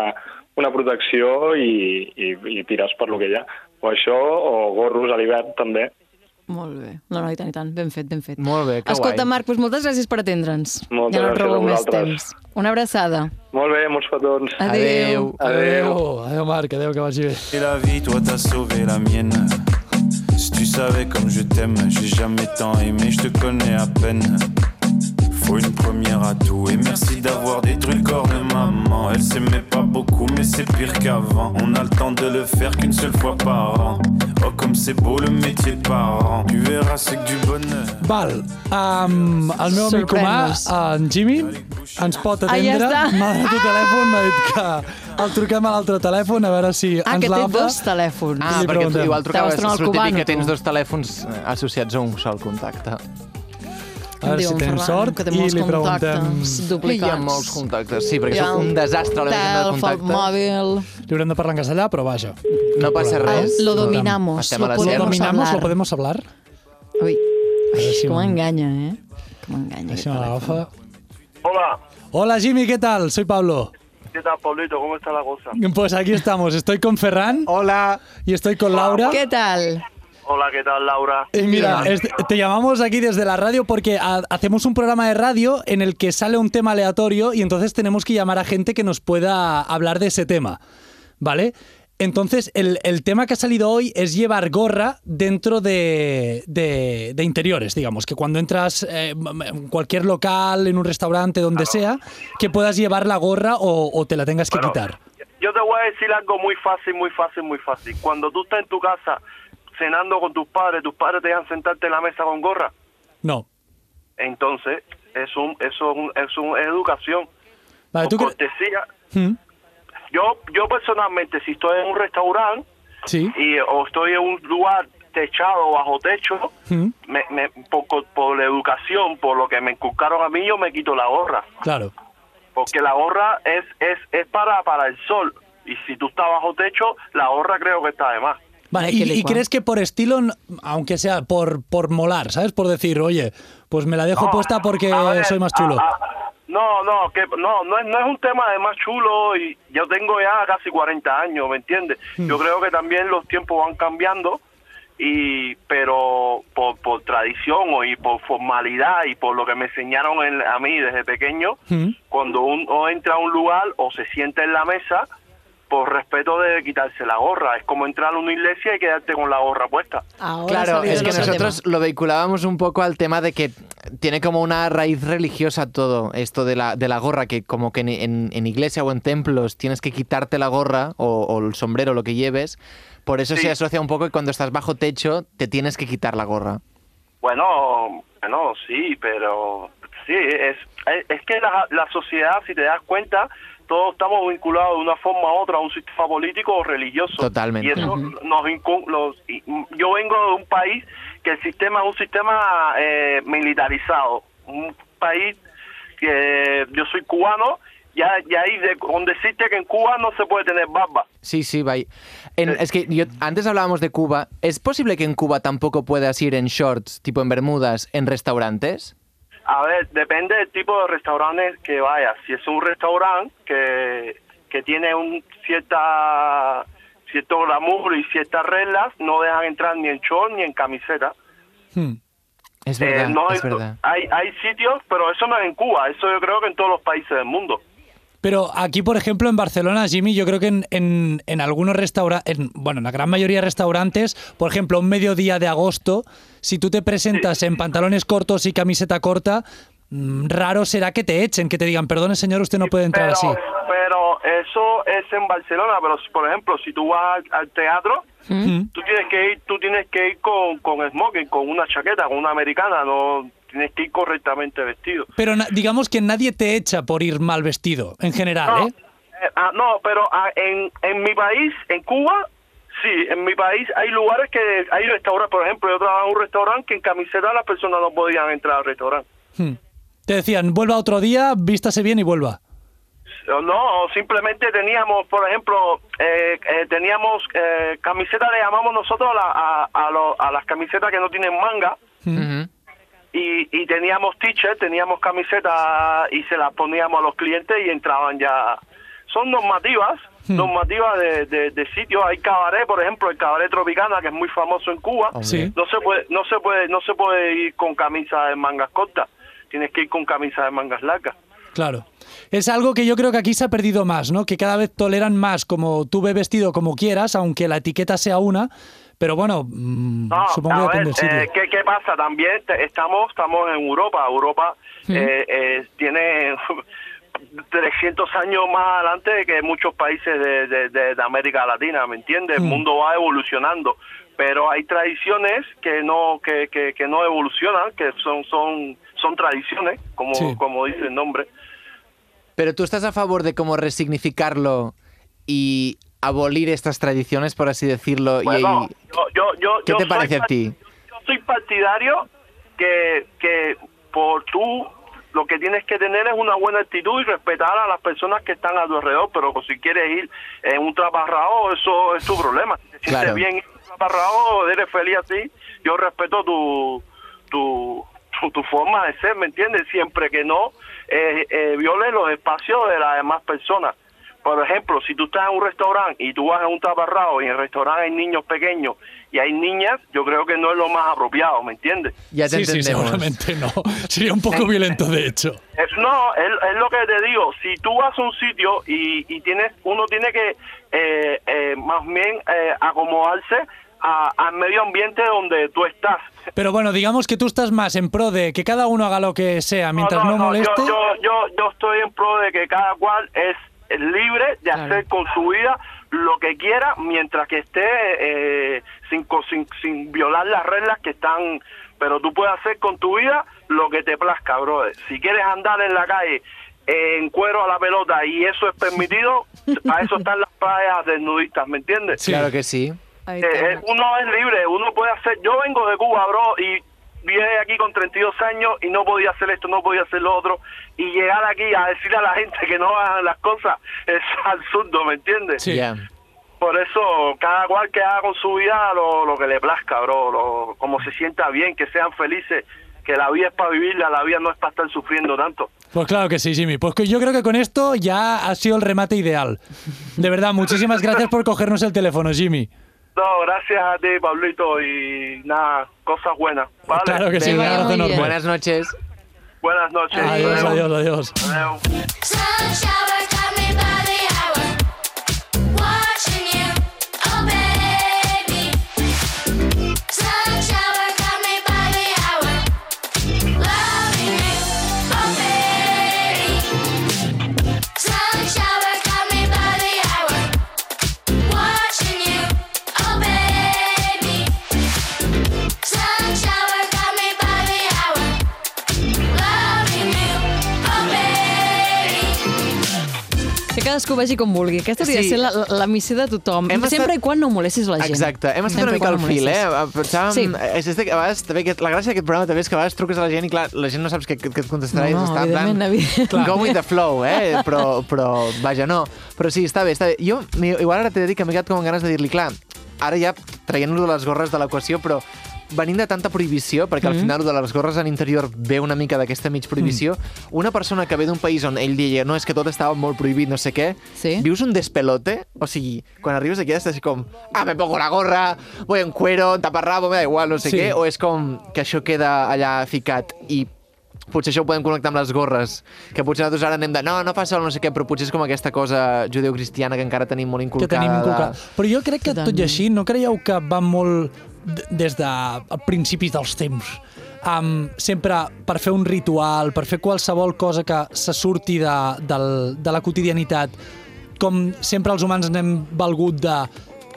una protecció i, i, i tires per lo que hi ha. O això, o gorros a l'hivern, també.
Molt bé. No, no, i tant, i tant. Ben fet, ben fet.
Molt bé, que
Escolta,
guai.
Marc, doncs moltes gràcies per atendre'ns.
Moltes
ja no et
gràcies
robo
a
més
vosaltres.
temps. Una abraçada.
Molt bé, molts petons.
Adéu.
Adéu.
Adéu.
Adéu, adéu Marc, adéu, que vagi bé.
Et la vie, toi t'as sauvé la mienne. Si tu savais comme je t'aime, j'ai jamais tant aimé, je te connais à peine. Faut une première à tout et merci d'avoir détruit le corps de maman. Elle s'aimait pas beaucoup mais c'est pire qu'avant. On a le temps de le faire qu'une seule fois par an. Oh comme c'est beau le métier de parent. Tu verras c'est que du bonheur.
Val, um, el meu amic comà,
Sorprèn-nos.
en Jimmy, ens pot
Ah, ja
atendre.
està.
M'ha donat un telèfon, m'ha dit que el truquem a l'altre telèfon a veure si
Ah,
ens
que té
l'agafa.
dos telèfons.
Ah,
Li
perquè tu
preguntem.
igual trucaves,
Te vas tornar al
és el típic
cubano,
que tens
tu.
dos telèfons eh, associats a un sol contacte.
A veure
Déu,
si
en
tens
Ferran,
sort
que té
i
molts
li preguntem...
contactes
I hi
duplicats.
ha molts contactes, sí, perquè
Hi ha
sóc un desastre a la meva agenda de
Tel, foc
contactes.
mòbil...
Li haurem de parlar en castellà, però vaja.
No passa res.
Lo dominamos.
Estem a la
lo
serra.
Lo
podemos
dominamos,
hablar.
lo podemos hablar?
Ui,
A veure si
com
em-
enganya, eh? Com enganya. aquest
si me
telèfon.
l'agafa.
Hola,
Hola Jimmy, ¿qué tal? Soy Pablo.
¿qué tal, Pablito? ¿Cómo está la cosa?
Pues aquí estamos, estoy con Ferran
Hola.
y estoy con Laura.
Què tal?
Hola, ¿qué tal, Laura?
Eh, mira, es- te llamamos aquí desde la radio porque ha- hacemos un programa de radio en el que sale un tema aleatorio y entonces tenemos que llamar a gente que nos pueda hablar de ese tema, ¿vale? Entonces, el, el tema que ha salido hoy es llevar gorra dentro de, de- de interiores, digamos, que cuando entras eh, en cualquier local, en un restaurante, donde sea, que puedas llevar la gorra o, o te la tengas que
Bueno,
quitar.
Yo te voy a decir algo muy fácil, muy fácil, muy fácil. Cuando tú estás en tu casa cenando con tus padres, tus padres te dejan sentarte en la mesa con gorra.
No.
Entonces, es un, eso es un, es un- es educación.
Vale, Ah, tú
Con
cre-
cortesía.
¿Mm?
Yo, yo personalmente, si estoy en un restaurante
Sí.
y, o estoy en un lugar techado o bajo techo,
¿Mm?
me, me- por, co- por la educación, por lo que me inculcaron a mí, yo me quito la gorra.
Claro.
Porque la gorra es, es, es para, para el sol. Y si tú estás bajo techo, la gorra creo que está de más.
Vale,
Hay que
y, y
licuar.
crees que por estilo, n- aunque sea por, por molar, ¿sabes? Por decir, oye, pues me la dejo
No,
puesta porque
a ver,
soy más
a-
chulo.
a- no, no, que, no, no es, no es un tema de más chulo. Y yo tengo ya casi 40 años, ¿me entiendes?
Hmm.
Yo creo que también los tiempos van cambiando. Y, pero por, por tradición o y por formalidad y por lo que me enseñaron en- a mí desde pequeño,
Mm.
cuando uno entra a un lugar o se sienta en la mesa, por respeto de quitarse la gorra. Es como entrar a una iglesia y quedarte con la gorra puesta.
Ahora
Claro,
salido
es
el
que
otro
nosotros lo vehiculábamos un poco al tema de que tiene como una raíz religiosa todo esto de la, de la gorra, que como que en, en- en iglesia o en templos tienes que quitarte la gorra o, o el sombrero, lo que lleves. Por eso
Sí.
se asocia un poco que cuando estás bajo techo te tienes que quitar la gorra.
Bueno, bueno, sí, pero sí, es, es- es que la, la sociedad, si te das cuenta, todos estamos vinculados de una forma u otra a un sistema político o religioso.
Totalmente.
Y eso
Ujú.
nos incu- los- y- Yo vengo de un país que el sistema es un sistema eh, militarizado, un país que yo soy cubano ya, ya ahí de, donde existe que en Cuba no se puede tener barba.
Sí, sí, bye. En-
Eh.
es que yo, antes hablábamos de Cuba. ¿Es posible que en Cuba tampoco puedas ir en shorts, tipo en bermudas, en restaurantes?
A ver, depende del tipo de restaurantes que vayas. Si es un restaurante que, que tiene un cierta cierto glamour y ciertas reglas, no dejan entrar ni en short ni en camiseta.
Hmm.
Es
Eh,
verdad,
no
es
hay,
verdad.
hay, hay sitios, pero eso no es en Cuba, eso yo creo que en todos los países del mundo.
Pero aquí, por ejemplo, en Barcelona, Jimmy, yo creo que en, en- en algunos restaurantes, bueno, en la gran mayoría de restaurantes, por ejemplo, un mediodía de agosto, si tú te presentas en pantalones cortos y camiseta corta, mm, raro será que te echen, que te digan, perdone señor, usted no puede entrar
pero,
así.
pero eso es en Barcelona, pero si, por ejemplo, si tú vas al, al teatro,
Mm.
tú tienes que ir, tú tienes que ir con, con smoking, con una chaqueta, con una americana, no tienes que ir correctamente vestido.
Pero na- digamos que nadie te echa por ir mal vestido, en general,
No,
¿eh?
eh, ah, no, pero ah, en, en mi país, en Cuba, sí, en mi país hay lugares que hay restaurantes, por ejemplo, yo trabajaba en un restaurante que en camiseta las personas no podían entrar al restaurante.
Hmm. Te decían, vuelva otro día, vístase bien y vuelva.
No, simplemente teníamos, por ejemplo, eh, eh, teníamos eh, camisetas, le llamamos nosotros a, la- a, a lo- a las camisetas que no tienen manga,
Ujú.
y, y teníamos t-shirts, teníamos camisetas y se las poníamos a los clientes y entraban ya. Son normativas, normativas de, de, de sitios. Hay cabaret, por ejemplo, el cabaret Tropicana, que es muy famoso en Cuba.
Hombre.
Sí.
No se puede, no se puede, no se puede ir con camisa de mangas cortas. Tienes que ir con camisa de mangas largas.
Claro. Es algo que yo creo que aquí se ha perdido más, ¿no? Que cada vez toleran más como tú ve vestido como quieras, aunque la etiqueta sea una. Pero bueno, mm,
No,
supongo que
Ah, a ver,
depende del sitio.
eh, ¿qué, qué pasa? También te- estamos estamos en Europa. Europa eh, eh, tiene 300 años más adelante que muchos países de, de- de- de América Latina, ¿me entiendes? El mundo va evolucionando, pero hay tradiciones que no que, que, que no evolucionan, que son son son tradiciones, como
Sí.
como dice el nombre.
Pero tú estás a favor de cómo resignificarlo y abolir estas tradiciones, por así decirlo. y-
Bueno,
y,
yo, yo, yo,
¿Qué
yo
te
soy
parece a
parti-
ti?
Yo soy partidario que, que por tú lo que tienes que tener es una buena actitud y respetar a las personas que están a tu alrededor, pero si quieres ir en un traparrao, eso es tu problema. Si te sientes
Claro.
bien en un traparrao, eres feliz así, yo respeto tu, tu, tu, tu forma de ser, ¿me entiendes? Siempre que no eh, eh, violes los espacios de las demás personas. Por ejemplo, si tú estás en un restaurante y tú vas a un taparrao y en el restaurante hay niños pequeños y hay niñas, yo creo que no es lo más apropiado, ¿me entiendes?
Ya te
sí, sí,
entendemos.
seguramente no. Sería un poco violento, de hecho.
Es- no, es, es lo que te digo. Si tú vas a un sitio y, y tienes, uno tiene que eh, eh, más bien eh, acomodarse a- al medio ambiente donde tú estás.
Pero bueno, digamos que tú estás más en pro de que cada uno haga lo que sea mientras no, moleste.
Yo, yo, yo, yo estoy en pro de que cada cual es es libre de hacer con su vida lo que quiera mientras que esté eh, sin, co- sin, sin violar las reglas que están. Pero tú puedes hacer con tu vida lo que te plazca, brother. Si quieres andar en la calle eh, en cuero a la pelota y eso es permitido, para eso están las playas desnudistas, ¿me entiendes?
Sí.
Claro que sí.
Ahí
Eh, eh,
tienes.
uno es libre, uno puede hacer. Yo vengo de Cuba, bro, y vine aquí con 32 años y no podía hacer esto, no podía hacer lo otro. Y llegar aquí a decirle a la gente que no hagan las cosas es absurdo, ¿me entiendes?
Sí.
Ya.
Por eso, cada cual que haga con su vida lo, lo que le plazca, bro, lo- como se sienta bien, que sean felices, que la vida es para vivirla, la vida no es para estar sufriendo tanto.
Pues claro que sí, Jimmy. Pues que yo creo que con esto ya ha sido el remate ideal. De verdad, muchísimas gracias por cogernos el teléfono, Jimmy.
No, gracias a ti, Pablito, y nada, cosas buenas, ¿vale?
Claro que sí,
Venga,
un abrazo
muy bien.
enorme.
Buenas noches.
Buenas noches.
Adiós, adiós, adiós.
Adiós.
Sun shower got me by the hour. Watching you, oh baby. Sun shower got me by the hour. Loving you, oh baby. Sun shower got me by the hour. Watching you, oh baby. Sun shower got me by the hour. Loving you, oh baby.
cadascú vegi com vulgui. Aquesta hauria de
Sí.
ser la, la, la missió de tothom.
Hem
Hem
estat-
Sempre i quan no molestis la gent.
Exacte, hem estat
Sempre
una mica
quan
al
no
fil, eh?
molestis.
Pensàvem...
Sí.
Sí. És, és que a vegades, també, aquest, la gràcia d'aquest programa també és que a vegades truques a la gent i, clar, la gent no saps què, què què et contestarà i
No, no,
està en plan...
evidentment, evidentment. Clar.
Go with the flow, eh? Però, però, vaja, no. Però sí, està bé, està bé. Jo, mi- igual ara t'he de dir que m'he quedat com amb ganes de dir-li, clar, ara ja traient-lo de les gorres de l'equació, però venint de tanta prohibició, perquè
Mm.
al final lo de les gorres en interior ve una mica d'aquesta mig prohibició,
Mm.
una persona que ve d'un país on ell deia no, és que tot estava molt prohibit, no sé què,
Sí.
vius un despelote, o sigui, quan arribes aquí estàs com, ah, me pongo la gorra, voy en cuero, en taparrabo, me da igual, no sé
Sí.
sí. què, o és com que això queda allà ficat i potser això ho podem connectar amb les gorres, que potser nosaltres ara anem de no, no fa sol, no sé què, però potser és com aquesta cosa judeocristiana que encara tenim molt
que
inculcada.
tenim inculcat.
De...
Però jo crec que, tot i
Totalment.
així, no creieu que va molt d- des de a principis dels temps? Um, sempre per fer un ritual, per fer qualsevol cosa que se surti de, del, de la quotidianitat, com sempre els humans n'hem valgut de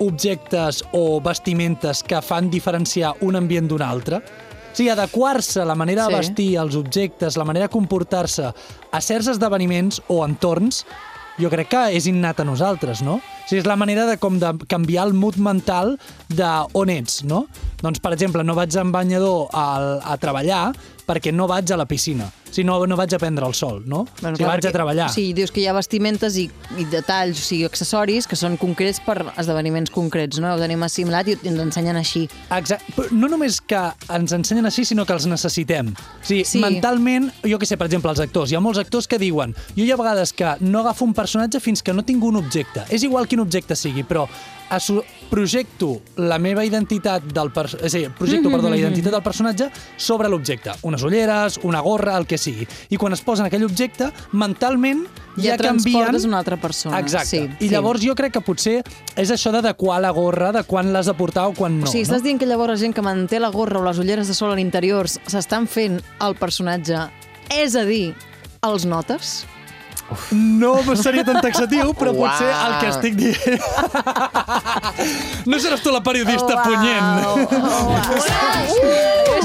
objectes o vestimentes que fan diferenciar un ambient d'un altre. O sigui, adequar-se a la manera
Sí.
de vestir, els objectes, la manera de comportar-se a certs esdeveniments o entorns, jo crec que és innat a nosaltres, no? O sigui, és la manera de, com de canviar el mood mental de on ets, no? Doncs, per exemple, no vaig en banyador a, a treballar perquè no vaig a la piscina. O sigui, no, no vaig a prendre el sol, no? Bueno, o sigui,
clar,
vaig
perquè-
a treballar.
O sigui, dius que hi ha vestimentes i, i detalls, o sigui, accessoris que són concrets per esdeveniments concrets, no? Ho tenim assimilat i ens ensenyen així.
Exacte. Però No només que ens ensenyen així, sinó que els necessitem. O sigui,
Sí.
sí. mentalment, jo que sé, per exemple, els actors. Hi ha molts actors que diuen jo hi ha vegades que no agafo un personatge fins que no tinc un objecte. És igual quin objecte sigui, però asso- projecto la meva identitat del per... és a dir, projecto, perdó, la identitat del personatge sobre l'objecte. Unes ulleres, una gorra, el que sigui. I quan es posen aquell objecte, mentalment
Ja
ja, canvien...
transportes una altra persona.
Exacte.
Sí,
I
sí.
llavors jo crec que potser és això d'adequar la gorra, de quan l'has de portar o quan no.
o sigui,
no?
estàs dient que llavors la gent que manté la gorra o les ulleres de sol a l'interior s'estan fent el personatge, és a dir, els notes?
No seria tan taxatiu, però
Uau.
potser el que estic dient... no seràs tu la periodista, punyent.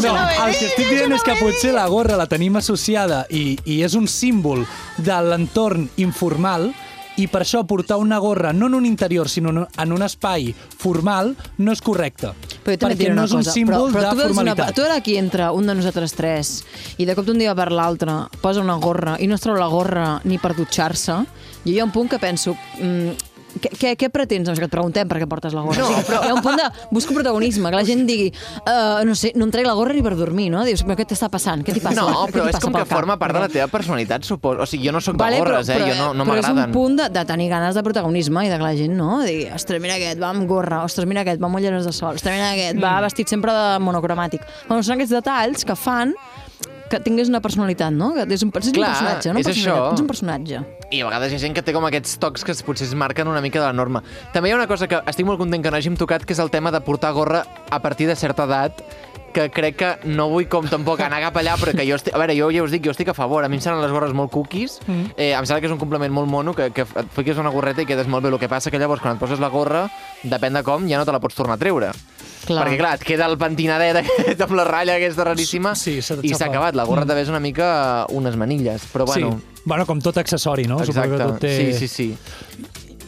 No, el que estic dient és que potser la gorra la tenim associada i, i és un símbol de l'entorn informal i per això portar una gorra no en un interior, sinó en un- en un espai formal, no és correcte.
Però jo també et
perquè
diré
no
una
és un
cosa,
símbol
però, però tu
de
veus
formalitat.
Una, tu ara aquí entra un de nosaltres tres i de cop d'un dia per l'altre posa una gorra i no es treu la gorra ni per dutxar-se, jo hi ha un punt que penso... Mm, què, què, què pretens? No, és que et preguntem per què portes la gorra. No, però... Hi ha un punt de... Busco protagonisme, que la gent digui uh, no sé, no em trec la gorra ni per dormir, no? Dius, però què t'està passant? Què t'hi passa?
No,
Què
però
t'hi
és
passa
com
pel
que
cap?
forma part de la teva personalitat, suposo. O sigui, jo no sóc
Vale,
de gorres,
però,
eh? Jo no, no
però és
m'agraden.
un punt de, de tenir ganes de protagonisme i de que la gent, no? Digui, ostres, mira aquest, va amb gorra, ostres, mira aquest, va amb ulleres de sol, ostres, mira aquest, va vestit sempre de monocromàtic. Bueno, són aquests detalls que fan que tinguis una personalitat, no? Que és un, és
Clar,
un personatge, no?
és
Personalitat,
això.
Ets un personatge.
I a vegades hi ha gent que té com aquests tocs que es- potser es marquen una mica de la norma. També hi ha una cosa que estic molt content que no hàgim tocat, que és el tema de portar gorra a partir de certa edat, que crec que no vull com tampoc anar cap allà, però que jo estic... A veure, jo ja us dic, jo estic a favor. A mi em semblen les gorres molt cookies. Mm. Eh, em sembla que és un complement molt mono, que, que et fiques una gorreta i quedes molt bé. El que passa que llavors, quan et poses la gorra, depèn de com, ja no te la pots tornar a treure.
Clar.
Perquè, clar, et queda el pentinadet aquest amb la ratlla aquesta raríssima
Sí, s'ha
i s'ha
aixafat.
acabat. La gorra també és una mica unes manilles, però bueno...
Sí. Bueno, com tot accessori, no? Suposo que
Exacte,
tot té...
sí, sí, sí.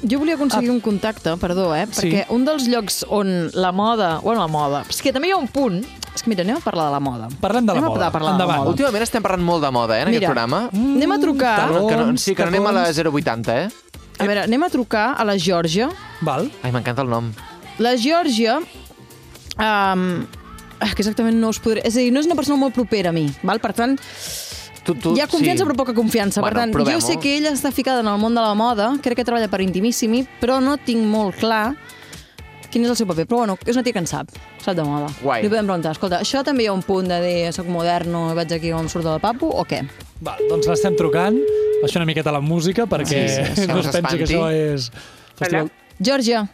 Jo volia aconseguir un contacte, perdó, eh?
Sí.
Perquè un dels llocs on la moda... Bueno, la moda... És que també hi ha un punt... És que mira, anem a parlar de la moda.
Parlem de la
anem
moda.
A parlar de la
Endavant.
moda.
Últimament estem parlant molt de moda, eh, en aquest
Mira, Mm.
programa.
anem a trucar...
talons,
Que no, sí, que no anem a la
talons.
080, eh?
A veure, anem a trucar a la Georgia,
Val.
Ai, m'encanta el nom.
La Georgia... Um, que exactament no us podré... És a dir, no és una persona molt propera a mi, val? per tant,
Tu, tu,
hi ha confiança
sí.
però poca confiança.
Bueno,
per tant,
provem-ho.
jo sé que ella està ficada en el món de la moda, crec que treballa per Intimissimi, però no tinc molt clar quin és el seu paper. Però bueno, és una tia que en sap, sap de moda.
Guai.
Li podem preguntar, escolta, això també hi ha un punt de dir soc moderno i vaig aquí on em surt del papo o què?
Val, doncs l'estem trucant. Baixo una miqueta la música perquè
Sí, sí, sí,
no es
no
pensi que
s'espanti.
això és... Festival...
Georgia,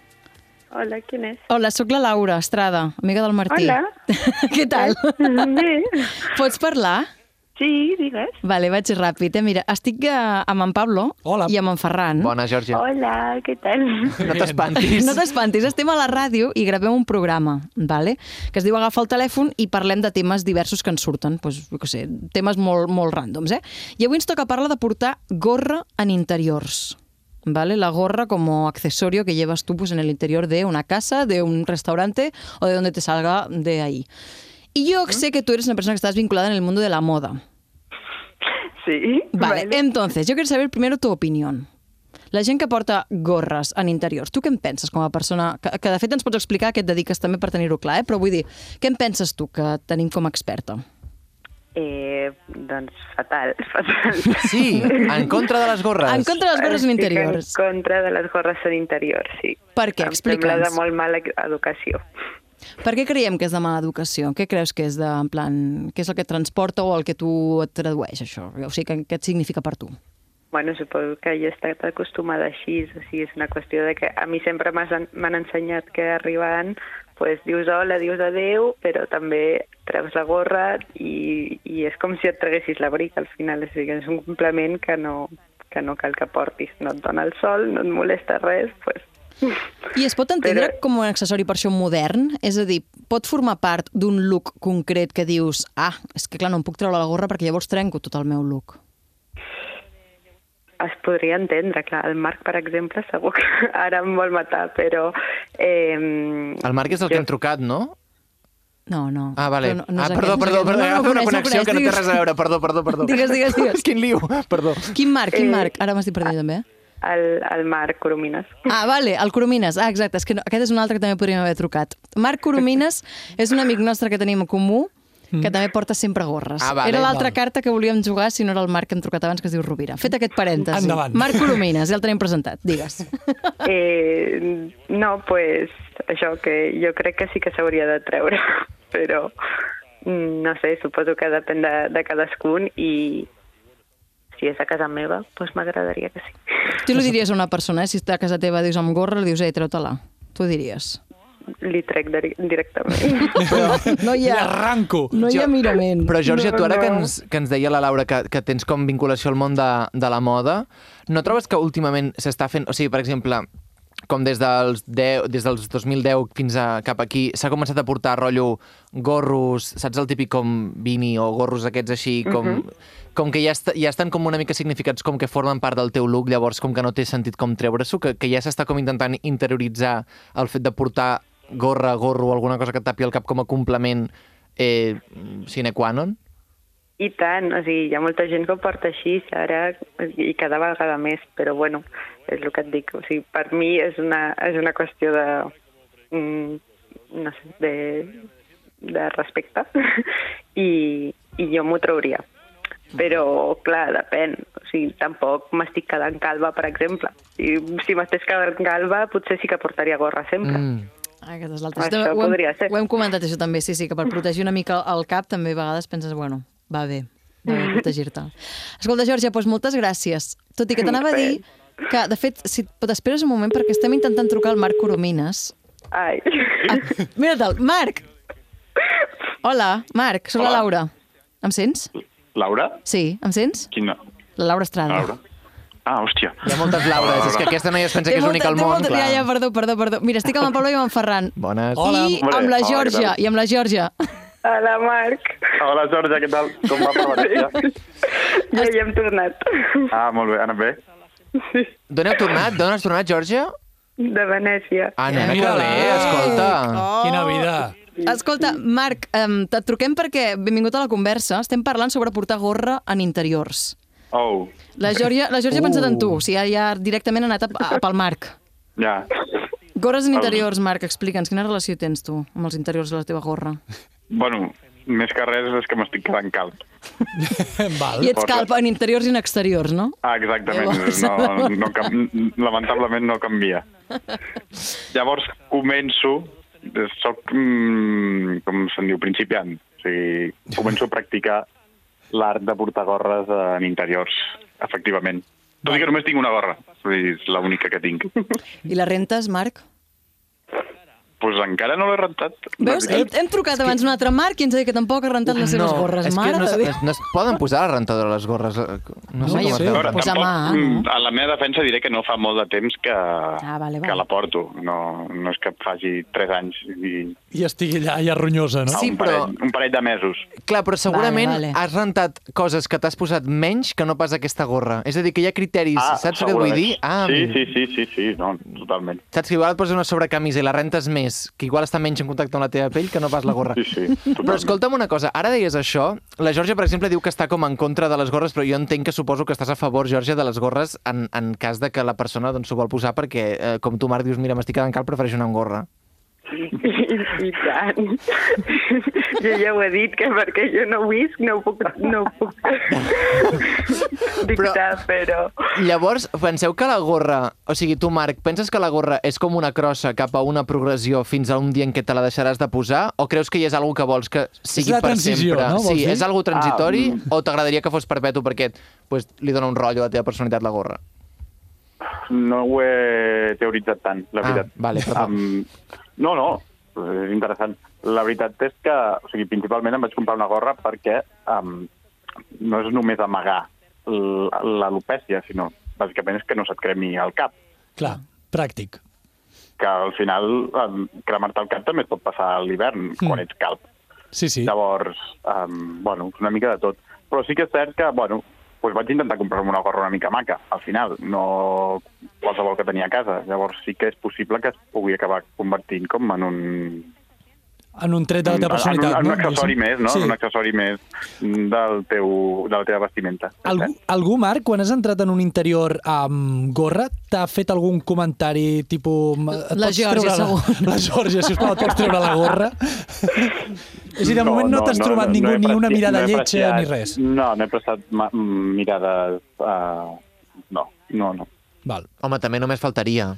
Hola, ¿quién es?
hola, sóc la Laura Estrada, amiga del Martí.
Hola.
què tal?
Bé.
Pots parlar?
Sí, digues.
Vale, vaig ràpid. Eh? Mira, estic eh, amb en Pablo
Hola.
i amb en Ferran.
Bona, Georgia.
Hola, ¿qué tal?
No t'espantis.
No t'espantis, estem a la ràdio i gravem un programa, vale? que es diu Agafa el telèfon i parlem de temes diversos que ens surten, doncs, jo què sé, temes molt, molt ràndoms. Eh? I avui ens toca parlar de portar gorra en interiors. ¿Vale? La gorra como accesorio que llevas tú pues, en el interior de una casa, de un restaurante o de donde te salga de ahí. Y yo sé que tú eres una persona que estás vinculada en el mundo de la moda.
Sí.
Vale, entonces, jo quiero saber primero tu opinió. La gent que porta gorres en interiors, tu què en penses com a persona? Que, que de fet ens pots explicar que et dediques també per tenir-ho clar, eh? però vull dir, què en penses tu que tenim com a experta?
Eh, doncs fatal, fatal.
Sí, en contra de les gorres.
En contra de les gorres en
Estic
interiors.
En contra de les gorres en interior, sí.
Per què?
Em sembla de
Explica'ns.
molt mala educació.
Per què creiem que és de mala educació? Què creus que és de, en plan, què és el que et transporta o el que tu et tradueix, això? O sigui, què, què et significa per tu?
Bueno, suposo que ja he estat acostumada així, o sigui, és una qüestió de que a mi sempre m'has en- m'han ensenyat que arribant pues, dius hola, dius adeu, però també treus la gorra i, i és com si et traguessis l'abric al final, o sigui, és un complement que no, que no cal que portis, no et dona el sol, no et molesta res, pues,
I es pot entendre
Però-
com un accessori per això modern? És a dir, pot formar part d'un look concret que dius ah, és que clar, no em puc treure la gorra perquè llavors trenco tot el meu look.
es podria entendre, clar, el Marc, per exemple, segur que ara em vol matar, però... Eh,
El Marc és el que hem trucat, no?
No, no.
Ah, vale.
Però no- no
ah,
és
perdó,
aquest, no és
perdó,
aquest.
perdó.
No, no,
Agafa una
coneix, no
connexió que no té
coneix,
res a veure. Perdó, perdó, perdó.
Digues, digues, digues.
Quin liu. Perdó.
Quin Marc, quin
Eh,
Marc? Ara m'estic perdent també. eh?
El, el Marc Coromines.
Ah, vale, el Coromines. Ah, exacte, és que no, aquest és un altre que també podríem haver trucat. Marc Coromines és un amic nostre que tenim en comú que també porta sempre gorres.
Mm. Ah, vale,
era l'altra
val.
carta que volíem jugar si no era el Marc que hem trucat abans, que es diu Rovira. Fet aquest parèntesi.
Endavant.
Marc Coromines, ja el tenim presentat, digues.
Eh, no, pues això que jo crec que sí que s'hauria de treure, però mm, no sé, suposo que depèn de, de cadascun i si és a casa meva, doncs m'agradaria que sí.
Tu li diries a una persona, eh? si està a casa teva, dius amb gorra, li dius, ei, treu-te-la. Tu ho diries.
Li trec dir directament.
Però no hi
I
ha,
arranco.
no hi ha mirament.
Però, Georgia,
No,
tu ara que
no.
ens, que ens deia la Laura que, que tens com vinculació al món de, de la moda, no trobes que últimament s'està fent... O sigui, per exemple, com des dels, 10, des dels 2010 fins a cap aquí, s'ha començat a portar rotllo gorros, saps el típic com vini o gorros aquests així, com, com que ja, est ja estan com una mica significats, com que formen part del teu look, llavors com que no té sentit com treure-s'ho, que, que ja s'està com intentant interioritzar el fet de portar gorra, gorro o alguna cosa que et tapi el cap com a complement eh, sine qua non?
I tant, o sigui, hi ha molta gent que ho porta així ara i cada vegada més, però bueno, és el que et dic. O sigui, per mi és una, és una qüestió de... mm, no sé, de, de respecte i, i jo m'ho trauria. Però, clar, depèn. O sigui, tampoc m'estic quedant calva, per exemple. I si m'estés quedant calva, potser sí que portaria gorra sempre. Mm.
Mm.
Ah, Aquesta és l'altra.
Això
També ho hem-
podria ser.
Ho hem comentat, això també, sí, sí, que per protegir una mica el cap també a vegades penses, bueno, va bé, va bé protegir-te. Escolta, Georgia, doncs moltes gràcies. Tot i que t'anava a dir que, de fet, si t'esperes un moment, perquè estem intentant trucar al Marc Coromines.
Ai.
Ah, mira tal, Marc! Hola, Marc, sóc la
Hola.
Laura. Em sents?
Laura?
Sí, em sents?
Quina?
La Laura Estrada.
Laura? Ah, hòstia.
Hi ha moltes Laures, és que aquesta noia es pensa
Té
que és l'única
molta-
al
té
món,
molta-
clar.
Ja, ja, perdó, perdó, perdó. Mira, estic amb el Pablo i amb en Ferran.
Bones.
Hola.
I
Hola.
amb la
Hola, què
Georgia,
tal?
i amb la Georgia.
Hola, Marc.
Hola, Georgia, què tal? Com va per València?
Jo ja hem tornat.
Ah, molt bé, ha anat bé.
D'on heu tornat? D'on has tornat, Georgia?
De Venècia.
Ah, nena, que
Mira-la.
bé, escolta.
Quina
Oh.
vida.
Escolta, Marc, um, et truquem perquè, benvingut a la conversa, estem parlant sobre portar gorra en interiors.
Oh,
La Georgia, la Georgia uh. ha pensat en tu, o sigui, ja, ja directament ha anat a, a, pel Marc.
ja.
Gorres en interiors, Marc, explica'ns, quina relació tens tu amb els interiors de la teva gorra?
Bueno, més que res és que m'estic quedant calp.
Val.
I ets calp en interiors i en exteriors, no?
Ah, exactament.
Llavors-
No, no, cam- lamentablement no canvia. Llavors començo, soc, mm, com se'n diu, principiant. O sigui, començo a practicar l'art de portar gorres en interiors, efectivament. Tot i que només tinc una gorra, Vull dir, és l'única que tinc.
I la rentes, Marc?
pues encara no l'he rentat. la
Veus? Hem,
veritat.
hem trucat abans un altre Marc i ens ha dit que tampoc ha rentat les seves gorres.
és
Mare
que no,
de
es-
Déu.
es- no es poden posar a la rentadora les gorres. eh, No, sé
Home, jo
com es
sé.
deuen
Però
posar.
tampoc- mà, eh?
Mm, A la meva defensa diré que no fa molt de temps que,
Ah, vale,
que
vale.
la porto. No, no és que faci 3 anys i
I estigui allà, ja ronyosa, no?
ah, un, parell, un parell de mesos.
Clar, però segurament
Vale, vale.
vale, vale. has rentat coses que t'has posat menys que no pas aquesta gorra. És a dir, que hi ha criteris, ah, saps què vull
segurament.
dir? Ah,
sí,
mira.
sí, sí, sí, sí, no, totalment.
Saps que igual et poses una sobrecamisa i la rentes més, que igual està menys en contacte amb la teva pell que no pas la gorra.
Sí, sí, totalment.
Però escolta'm una cosa, ara deies això, la Georgia, per exemple, diu que està com en contra de les gorres, però jo entenc que suposo que estàs a favor, Georgia, de les gorres en, en cas de que la persona doncs, s'ho vol posar perquè, eh, com tu, Marc, dius, mira, m'estic quedant cal, prefereixo anar amb gorra.
I, I tant. Jo ja ho he dit, que perquè jo no visc, no ho puc, no ho puc dictar, però...
Llavors, penseu que la gorra... O sigui, tu, Marc, penses que la gorra és com una crossa cap a una progressió fins a un dia en què te la deixaràs de posar? O creus que hi és algo que vols que sigui
la
per
transició,
sempre?
no? Vols
Sí,
dir?
és algo transitori ah, o t'agradaria que fos perpetu perquè pues, li dona un rotllo a la teva personalitat la gorra?
No ho he teoritzat tant, la
Ah,
veritat.
vale, perdó.
Em- no, no, és interessant. La veritat és que, o sigui, principalment em vaig comprar una gorra perquè um, no és només amagar l- l'alopècia, sinó bàsicament és que no se't cremi el cap,
Clar, pràctic.
que al final um, cremar-te el cap també et pot passar a l'hivern,
Mm.
mm. quan ets calb.
Sí, sí.
Llavors, um, bueno, una mica de tot. Però sí que és cert que, bueno, doncs vaig intentar comprar-me una gorra una mica maca, al final, no qualsevol que tenia a casa. Llavors sí que és possible que es pugui acabar convertint com en un...
En un tret de la teva
Mm, en, en, un,
personalitat,
en un
no?
accessori
Diguéssim.
més, no?
Sí.
En un accessori més del teu, de la teva vestimenta.
Algú, algú, Marc, quan has entrat en un interior amb gorra, t'ha fet algun comentari tipus... "M- et
La
pots
Georgia,
treure
segur.
La, la Georgia, sisplau, et pots treure la gorra? És a dir, de moment no, t'has trobat ningú
he
ni una
apreciat-
mirada
no he
lletja ni
apreciat-
res.
No, no he prestat ma- mm, mirades... Uh, no, no, no.
Val.
Home, també només faltaria.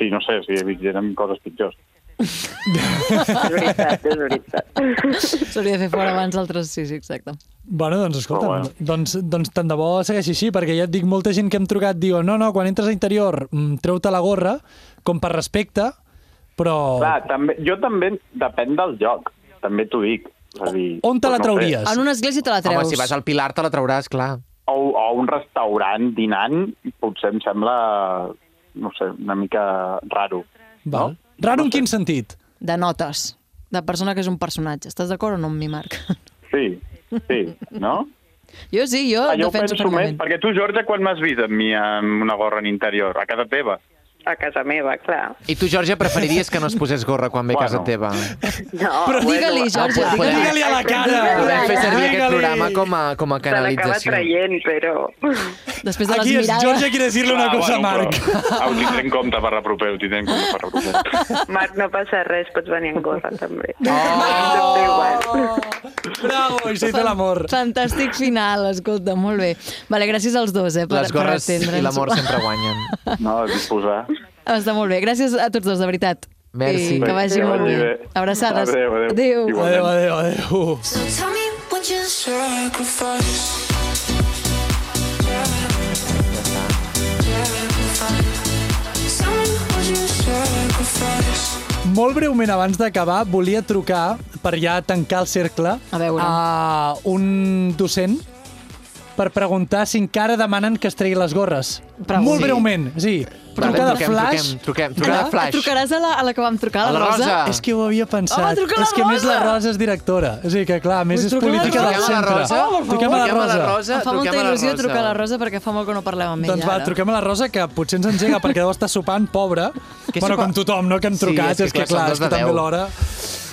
Sí, no sé, sí, he vist gent amb coses pitjors.
És veritat, és veritat.
S'hauria de fer fora abans d'altres... Sí, sí, exacte.
Bueno, doncs escolta,
Però
bueno.
Oh, bueno.
doncs, doncs tant de bo segueixi així, perquè ja et dic, molta gent que hem trucat diu no, no, quan entres a interior mm, treu-te la gorra, com per respecte, però...
Clar, també, jo també, depèn del joc, també t'ho dic. És a dir,
On te la
doncs no sé,
trauries?
En una església te la treus.
Home, si vas al Pilar te la trauràs, clar.
O, o un restaurant dinant, potser em sembla, no sé, una mica raro.
Val.
No?
Raro en quin sentit?
De notes. De persona que és un personatge. Estàs d'acord o no amb mi, Marc?
Sí, sí, no?
Jo sí, jo
Ah, jo ho
defenso
penso més,
fermament.
perquè tu, Jorge, quan m'has vist amb mi amb una gorra en interior? A casa teva?
A casa meva, clar.
I tu, Georgia, preferiries que no es posés gorra quan ve a casa
Bueno.
teva?
No, ah,
Però
Digue-li, Jorge,
podem-
digue-li.
Digue-li a la cara!
Podem fer servir aquest
Digue-li.
programa com a, com a
se l'acaba
canalització.
traient, però...
Després de les
Aquí és,
mirades...
Georgia quiere decirle una
Ah,
cosa a
bueno,
Marc.
Però, ah, ho tindré en compte per la propera, ho tindré en compte per la propera.
Marc, no passa res, pots venir en gorra, també.
Oh!
Oh!
Bravo, i s'hi té l'amor.
Fantàstic final, escolta, molt bé. Vale, gràcies als dos, eh, per,
Les gorres
per
i
atendre'ns.
l'amor sempre guanyen.
No, a disposar.
Ah, Està molt bé. Gràcies a tots dos, de veritat.
Merci.
I que vagi
Que
molt
vagi
bé.
bé.
Abraçades.
Adéu, adéu.
Adéu.
Igual.
Adéu, adéu, adéu.
So tell me what you
Sacrifice.
someone would you
Sacrifice.
Molt breument abans d'acabar, volia trucar, per ja tancar el cercle,
A veure.
a un docent per preguntar si encara demanen que es tregui les gorres.
Pregunti.
Molt
Sí.
breument, sí. Trucada
truquem,
flash.
truquem, truquem, trucada
Ah,
flash.
Trucaràs a la, a la que vam trucar, a la,
A la Rosa.
És que ho havia pensat.
Home, truca la
és que a més la
Rosa.
Rosa és directora. O sigui que, clar, a més
Vull
és
trucar a la
política del
Rosa.
centre.
Home, per
truquem a la
Truquem
Em fa
Rosa.
molta
truquem a la
il·lusió
Rosa.
trucar a la Rosa perquè fa molt que no parlem amb ella.
Doncs va,
ara.
truquem a la Rosa, que potser ens engega perquè deu estar sopant, pobra.
Que
bueno,
sopa-
com tothom, no?, que han
Sí,
trucat.
és que,
és que,
clar,
clar,
són
és
dos
que
de
també
deu.
l'hora...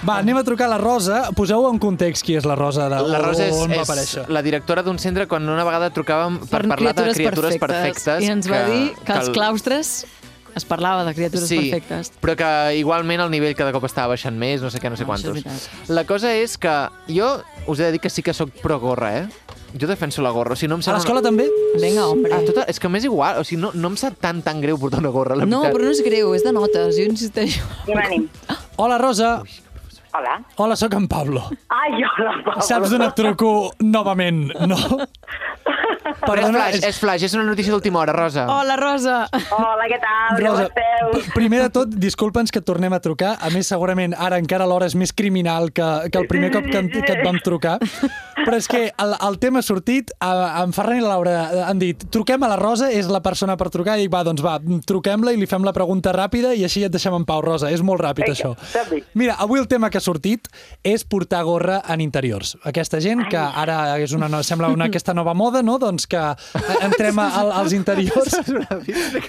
Va, anem a trucar a la Rosa. Poseu en context qui és la Rosa, de
La Rosa és,
on va
és
aparèixer.
la directora d'un centre quan una vegada trucàvem per, parlar de criatures perfectes.
I ens va dir que, als
el-
claustres es parlava de criatures
sí,
perfectes.
però que igualment el nivell cada cop estava baixant més, no sé què, no sé
No, Ah, això és
quantos. La cosa és que jo us he de dir que sí que sóc pro gorra, eh? Jo defenso la gorra, o sigui, no em
A
sembla...
l'escola també?
Vinga, hombre.
Ah, tota, és que m'és igual, o sigui, no, no em sap tan tan greu portar una gorra, la
no,
veritat.
però no és greu, és de notes, jo insisteixo.
Què venim?
Hola, Rosa.
Hola.
Hola, sóc en Pablo.
Ai, hola, Pablo.
Saps d'on et truco novament, no?
Però és flash, és flash, és una notícia d'última hora, Rosa.
Hola, Rosa.
Hola, què tal?
Rosa, p- primer de tot, disculpa'ns que et tornem a trucar. A més, segurament ara encara l'hora és més criminal que, que el primer cop que, en- que et vam trucar. Però és que el, el tema ha sortit, a- en Ferran i la Laura han dit truquem a la Rosa, és la persona per trucar, i dic, va, doncs va, truquem-la i li fem la pregunta ràpida i així ja et deixem en pau, Rosa. És molt ràpid,
Vinga,
això. Mira, avui el tema que ha sortit és portar gorra en interiors. Aquesta gent que ara és una, no- sembla una, aquesta nova moda, no? Doncs que entrem al, als interiors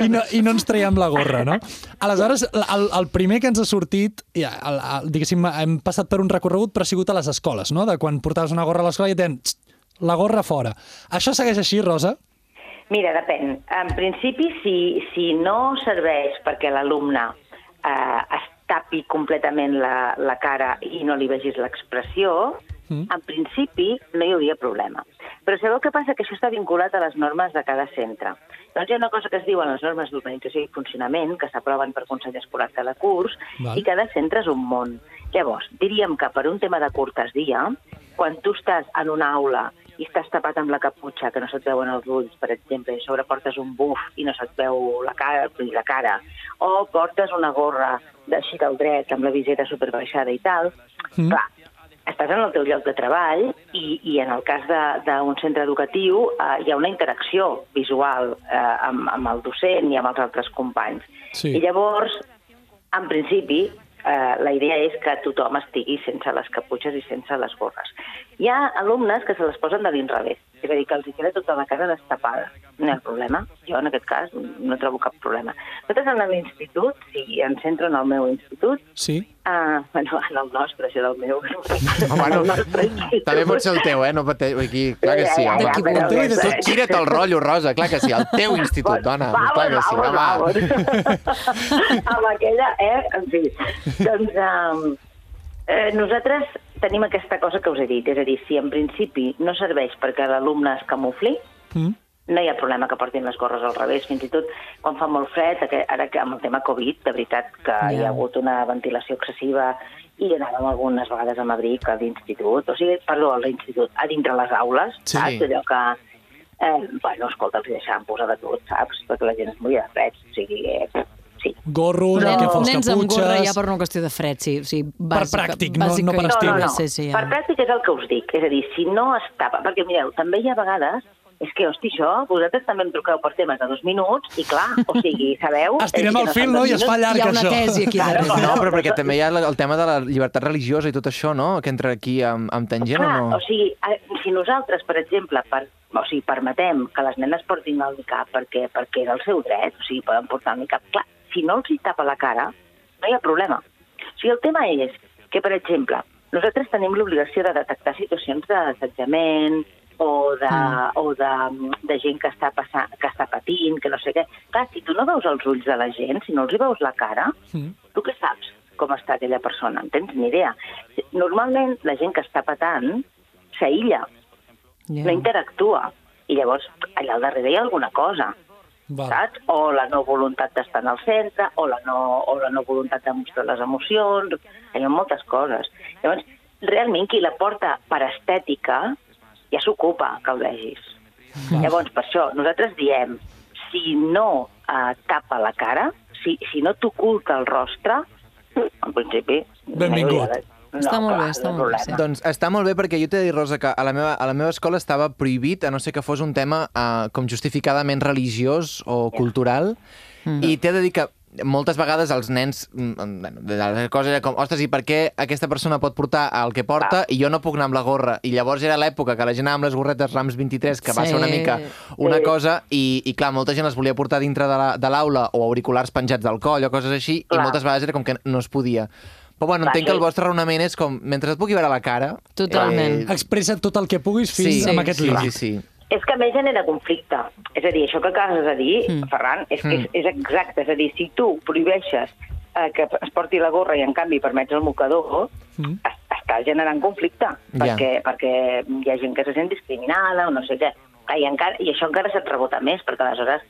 i no, i no ens traiem la gorra, no? Aleshores, el, el primer que ens ha sortit, ja, el, el, diguéssim, hem passat per un recorregut, però ha sigut a les escoles, no? De quan portaves una gorra a l'escola i et deien, "Txt, la gorra fora. Això segueix així, Rosa?
Mira, depèn. En principi, si, si no serveix perquè l'alumne eh, es tapi completament la, la cara i no li vegis l'expressió, mm. en principi no hi hauria problema. Però sabeu què passa? Que això està vinculat a les normes de cada centre. Doncs hi ha una cosa que es diuen les normes d'organització i funcionament, que s'aproven per Consell Escolar cada curs,
Val.
i cada centre és un món. Llavors, diríem que per un tema de cortesia, quan tu estàs en una aula i estàs tapat amb la caputxa, que no se't veuen els ulls, per exemple, i a sobre portes un buf i no se't veu la cara, ni la cara, o portes una gorra d'així del dret amb la visera superbaixada i tal,
Mm.
clar, estàs en el teu lloc de treball i, i en el cas de- d'un centre educatiu eh, hi ha una interacció visual eh, amb, amb el docent i amb els altres companys.
Sí.
I llavors, en principi, eh, la idea és que tothom estigui sense les caputxes i sense les gorres. Hi ha alumnes que se les posen de l'inrevés, és a dir, que els hi queda tota la cara destapada. No hi ha problema. Jo, en aquest cas, no trobo cap problema. Nosaltres en l'institut, si em centro en el meu institut,
Sí?
Ah, bueno, en el nostre, això del meu.
Bueno, també pot ser el teu, eh? No pateix. Aquí, clar que sí,
Ja, ja,
home.
ja, però-
Tu gira't el rotllo, Rosa, clar que sí. El teu institut, dona.
Vamos,
clar que sí,
vamos,
home.
amb aquella, eh? En fi, doncs um, eh, nosaltres tenim aquesta cosa que us he dit, és a dir, si en principi no serveix perquè l'alumne es camufli,
Mm.
no hi ha problema que portin les gorres al revés, fins i tot quan fa molt fred, aqu- ara que amb el tema Covid, de veritat que
Ja.
hi ha hagut una ventilació excessiva i anàvem algunes vegades amb abric a l'institut, o sigui, perdó, a l'institut, a dintre les aules,
Sí.
saps? Allò que, eh, bueno, escolta, els hi deixàvem posar de tot, saps? Perquè la gent es moria de fred, o sigui, eh,
Gorros, el
Nen-
que fos,
nens amb gorra ja
caputxes...
per una qüestió de fred, sí. O sigui, bàsica,
pràctic, no-
bàsica-
no per estil.
Sí, sí,
Per
ja.
pràctic és el que us dic. És a dir, si no es tapa... Perquè, mireu, també hi ha vegades és que, hosti, això, vosaltres també em truqueu per temes de dos minuts i, clar, o sigui, sabeu...
Estirem
és que
el fil,
són
no?
dos
I es fa
minuts.
llarg, Hi ha una això. tesi aquí
Clar,
No, però perquè també hi ha la- el tema de la llibertat religiosa i tot això, no? Que entra aquí amb, amb tangent
Clar,
o no?
o sigui, eh, si nosaltres, per exemple, per, o sigui, permetem que les nenes portin el micap perquè, perquè és el seu dret, o sigui, poden portar el micap, clar, si no els hi tapa la cara, no hi ha problema. O sigui, el tema és que, per exemple, nosaltres tenim l'obligació de detectar situacions d'assetjament o de,
Mm.
o de, de gent que està, passant, que està patint, que no sé què. Clar, si tu no veus els ulls de la gent, si no els hi veus la cara, tu què saps com està aquella persona? En tens ni idea. Normalment, la gent que està patant s'aïlla, no interactua, i llavors allà al darrere hi ha alguna cosa,
Val.
saps? O la no voluntat d'estar en el centre, o la no, o la no voluntat de mostrar les emocions, hi ha moltes coses. Llavors, realment, qui la porta per estètica ja s'ocupa que el vegis. Llavors, per això, nosaltres diem, si no eh, tapa la cara, si, si no t'oculta el rostre, en principi...
Benvingut.
No, clar, no hi ha problema.
Doncs està molt bé perquè jo t'he de dir, Rosa, que a la, meva, a la meva escola estava prohibit, a no ser que fos un tema eh, com justificadament religiós o cultural, i t'he de dir que moltes vegades els nens, mm, bueno, de la cosa era com, ostres, i per què aquesta persona pot portar el que porta i jo no puc anar amb la gorra? I llavors era l'època que la gent anava amb les gorretes Rams 23, que va
Sí.
ser una mica una
Sí.
cosa, i, i clar, molta gent les volia portar dintre de la- de l'aula la, o auriculars penjats del coll o coses així, i
Clar.
moltes vegades era com que no es podia. Però bueno,
Va,
entenc que
sí.
el vostre raonament és com, mentre et pugui veure la cara... Eh,
Expressa tot el que puguis fins
Sí,
amb aquest
sí,
límit.
sí, sí.
És que a més genera conflicte. És a dir, això que acabes de dir,
Mm.
mm. Ferran, és,
Mm.
mm. és, és exacte. És a dir, si tu prohibeixes eh, que es porti la gorra i en canvi permets el mocador,
Mm.
es, està generant conflicte,
Ja.
perquè, perquè hi ha gent que se sent discriminada o no sé què. Clar, I, encara, I això encara se't rebota més, perquè aleshores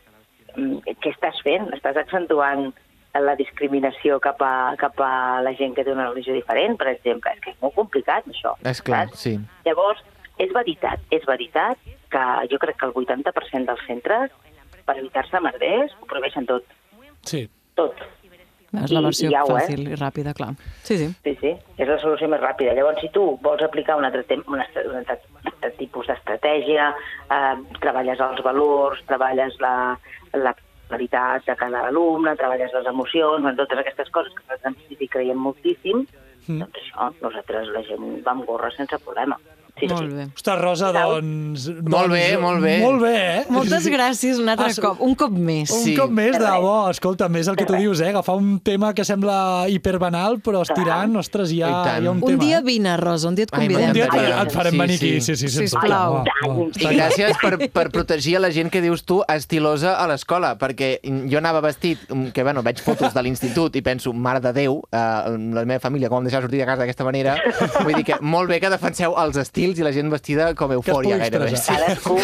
mm, què estàs fent? Estàs accentuant la discriminació cap a, cap a la gent que té una religió diferent, per exemple. És que és molt complicat, això.
És clar, sí.
Llavors, És veritat, és veritat que jo crec que el 80% dels centres, per evitar-se merders, ho prohibeixen tot.
Sí.
Tot.
És la
I-
versió
i au, eh?
fàcil i ràpida, clar. Sí, sí.
Sí, sí, és la solució més ràpida. Llavors, si tu vols aplicar un altre, tem un altre, un altre, un altre tipus d'estratègia, eh, treballes els valors, treballes la, la qualitat de cada alumne, treballes les emocions, bueno, totes aquestes coses que nosaltres hi creiem moltíssim,
Mm.
doncs això, nosaltres la gent va amb gorra sense problema. Sí, sí.
bé.
Ostres, Rosa, doncs...
Molt bé,
doncs,
molt bé.
Molt bé, eh?
Moltes gràcies un altre
Ah, sí.
cop, un cop més.
Un cop més, de debò, escolta, més el que tu dius, eh? Agafar un tema que sembla hiperbanal, però estirant, ostres, hi ha,
I tant.
hi ha un,
Un
tema. eh?
dia vine, Rosa, un dia et
Ai,
convidem.
Un dia et,
Ai,
et farem
sí,
venir aquí,
sí.
sí, sí, sense
Sisplau.
problema. Va, va,
I
està clar.
gràcies per, per protegir a la gent que dius tu estilosa a l'escola, perquè jo anava vestit, mm, que bueno, veig fotos de l'institut i penso, mare de Déu, eh, la meva família com em deixava sortir de casa d'aquesta manera, vull dir que molt bé que defenseu els estils i la gent vestida com
pugui
eufòria gairebé.
expressar.
Cadascú...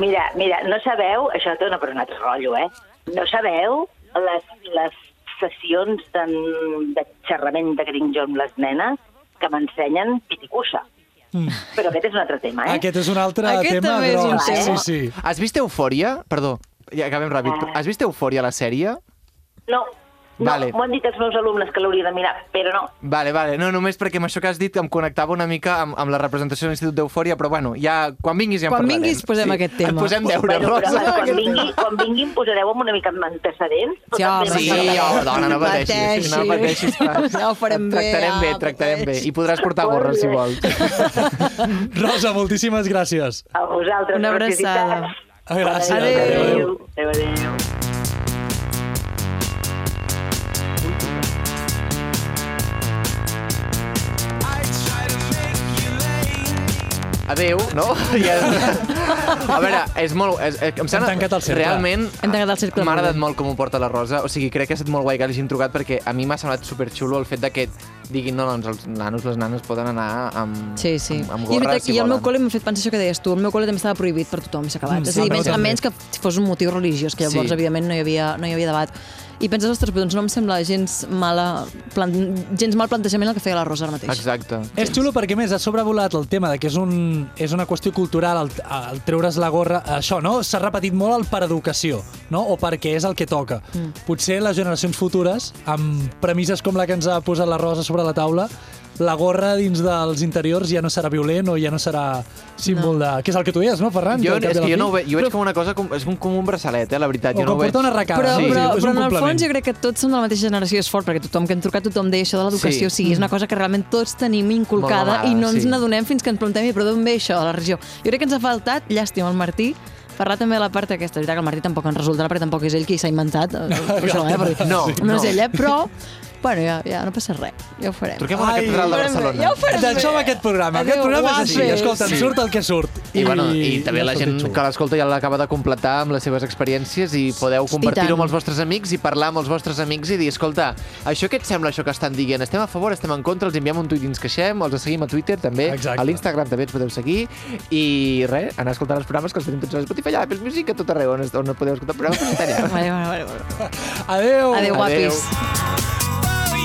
Mira, mira, no sabeu, això té una, però un altre rotllo, eh? No sabeu les, les sessions de, de xerrament de grinjo amb les nenes que m'ensenyen piticussa.
Mm.
Però aquest és un altre tema, eh?
Aquest és un altre
Aquest
tema
també és un
gros.
tema.
Sí, sí.
Has vist Eufòria? Perdó, ja acabem ràpid.
Ah.
però Has vist Eufòria, la sèrie?
No, no
Vale.
m'ho han dit els meus alumnes que l'hauria de mirar, però no.
Vale, vale. No, només perquè amb això que has dit em connectava una mica amb, amb la representació de l'Institut d'Eufòria, però bueno, ja, quan vinguis ja en
Quan
parlarem.
vinguis posem aquest tema.
Et posem deure,
bueno, però
Rosa.
quan, vingui, quan vingui em posareu amb una mica amb antecedents. però
Sí,
també
home,
Sí,
m'agradarà.
home, dona, no pateixis. No
pateixis.
pateixis. va.
Ja ho farem bé,
Tractarem bé,
ah,
tractarem bé.
pateixis.
I podràs portar gorra, si vols.
Rosa, moltíssimes gràcies.
A vosaltres.
Una abraçada.
felicitats.
Gràcies.
Adéu.
Adéu.
Adéu, adéu.
Adéu, no? Ja... A veure, és molt... És, és, em sembla,
Hem tancat el cercle.
Realment,
Hem tancat el cercle
m'ha
molt
agradat
bé.
molt com ho porta la Rosa. O sigui, crec que ha estat molt guai que l'hagin trucat perquè a mi m'ha semblat superxulo el fet de que diguin no, doncs els nanos, les nanes poden anar amb,
Sí, sí.
amb,
I,
amb
és
gorra
veritat,
si
I al
volen.
meu col·le m'ha fet pensar això que deies tu. El meu col·le també estava prohibit per tothom, s'ha acabat.
Mm,
és a dir,
sí,
menys, a
també.
menys que fos un motiu religiós, que llavors,
Sí.
sí. evidentment, no hi, havia, no hi havia debat. I penses, ostres, però doncs no em sembla gens, mala, plan, gens mal plantejament el que feia la Rosa ara mateix.
Exacte.
És xulo perquè, a més, ha sobrevolat el tema de que és, un, és una qüestió cultural el, el treure's la gorra. Això, no? S'ha repetit molt el per educació, no? O perquè és el que toca. Mm. Potser les generacions futures, amb premisses com la que ens ha posat la Rosa sobre la taula, la gorra dins dels interiors ja no serà violent o ja no serà símbol no. de... Que és el que tu deies, no, Ferran?
Jo,
al cap i
és
a la
que jo
fi.
no ho veig, jo veig com una cosa, com, és un, com un braçalet, eh, la veritat.
O
jo no
com
ho veig...
portar una arracada.
Però,
Sí,
però,
és
però
un
en el
complement.
fons jo crec que tots som de la mateixa generació i és fort, perquè tothom que hem trucat, tothom deia això de l'educació.
Sí. Mm.
O sigui, és una cosa que realment tots tenim inculcada
Molt amagada,
i no ens
sí.
n'adonem fins que ens preguntem "I, però d'on ve això de la regió. Jo crec que ens ha faltat, llàstima, el Martí, parlar també de la part aquesta. És veritat que el Martí tampoc ens resultarà, perquè tampoc és ell qui s'ha inventat. eh, això, eh? perquè
No,
no. és
no.
ell, eh? però... Bueno, ja, ja no passa res, ja ho farem.
Truquem a la
Ai,
catedral de
farem bé,
Barcelona.
ja ho farem.
D'això va aquest programa. Aquest
Adéu,
programa és així.
guapes.
Escolta,
Sí.
sí. surt el que surt.
I, bueno, i també
ha
la
sortit
gent
xulo.
que l'escolta ja l'acaba de completar amb les seves experiències i podeu compartir-ho
tant.
amb els vostres amics i parlar amb els vostres amics i dir, escolta, això què et sembla això que estan dient? Estem a favor, estem en contra, els enviem un tuit i ens queixem, els seguim a Twitter també,
Exacte.
a l'Instagram també ens podeu seguir i res, anar escoltant els programes que els tenim tots a Spotify, a Apple Music, a tot arreu on, on podeu escoltar programes.
Vale, vale, vale. vale.
Adéu.
Adéu, guapis.
Adéu.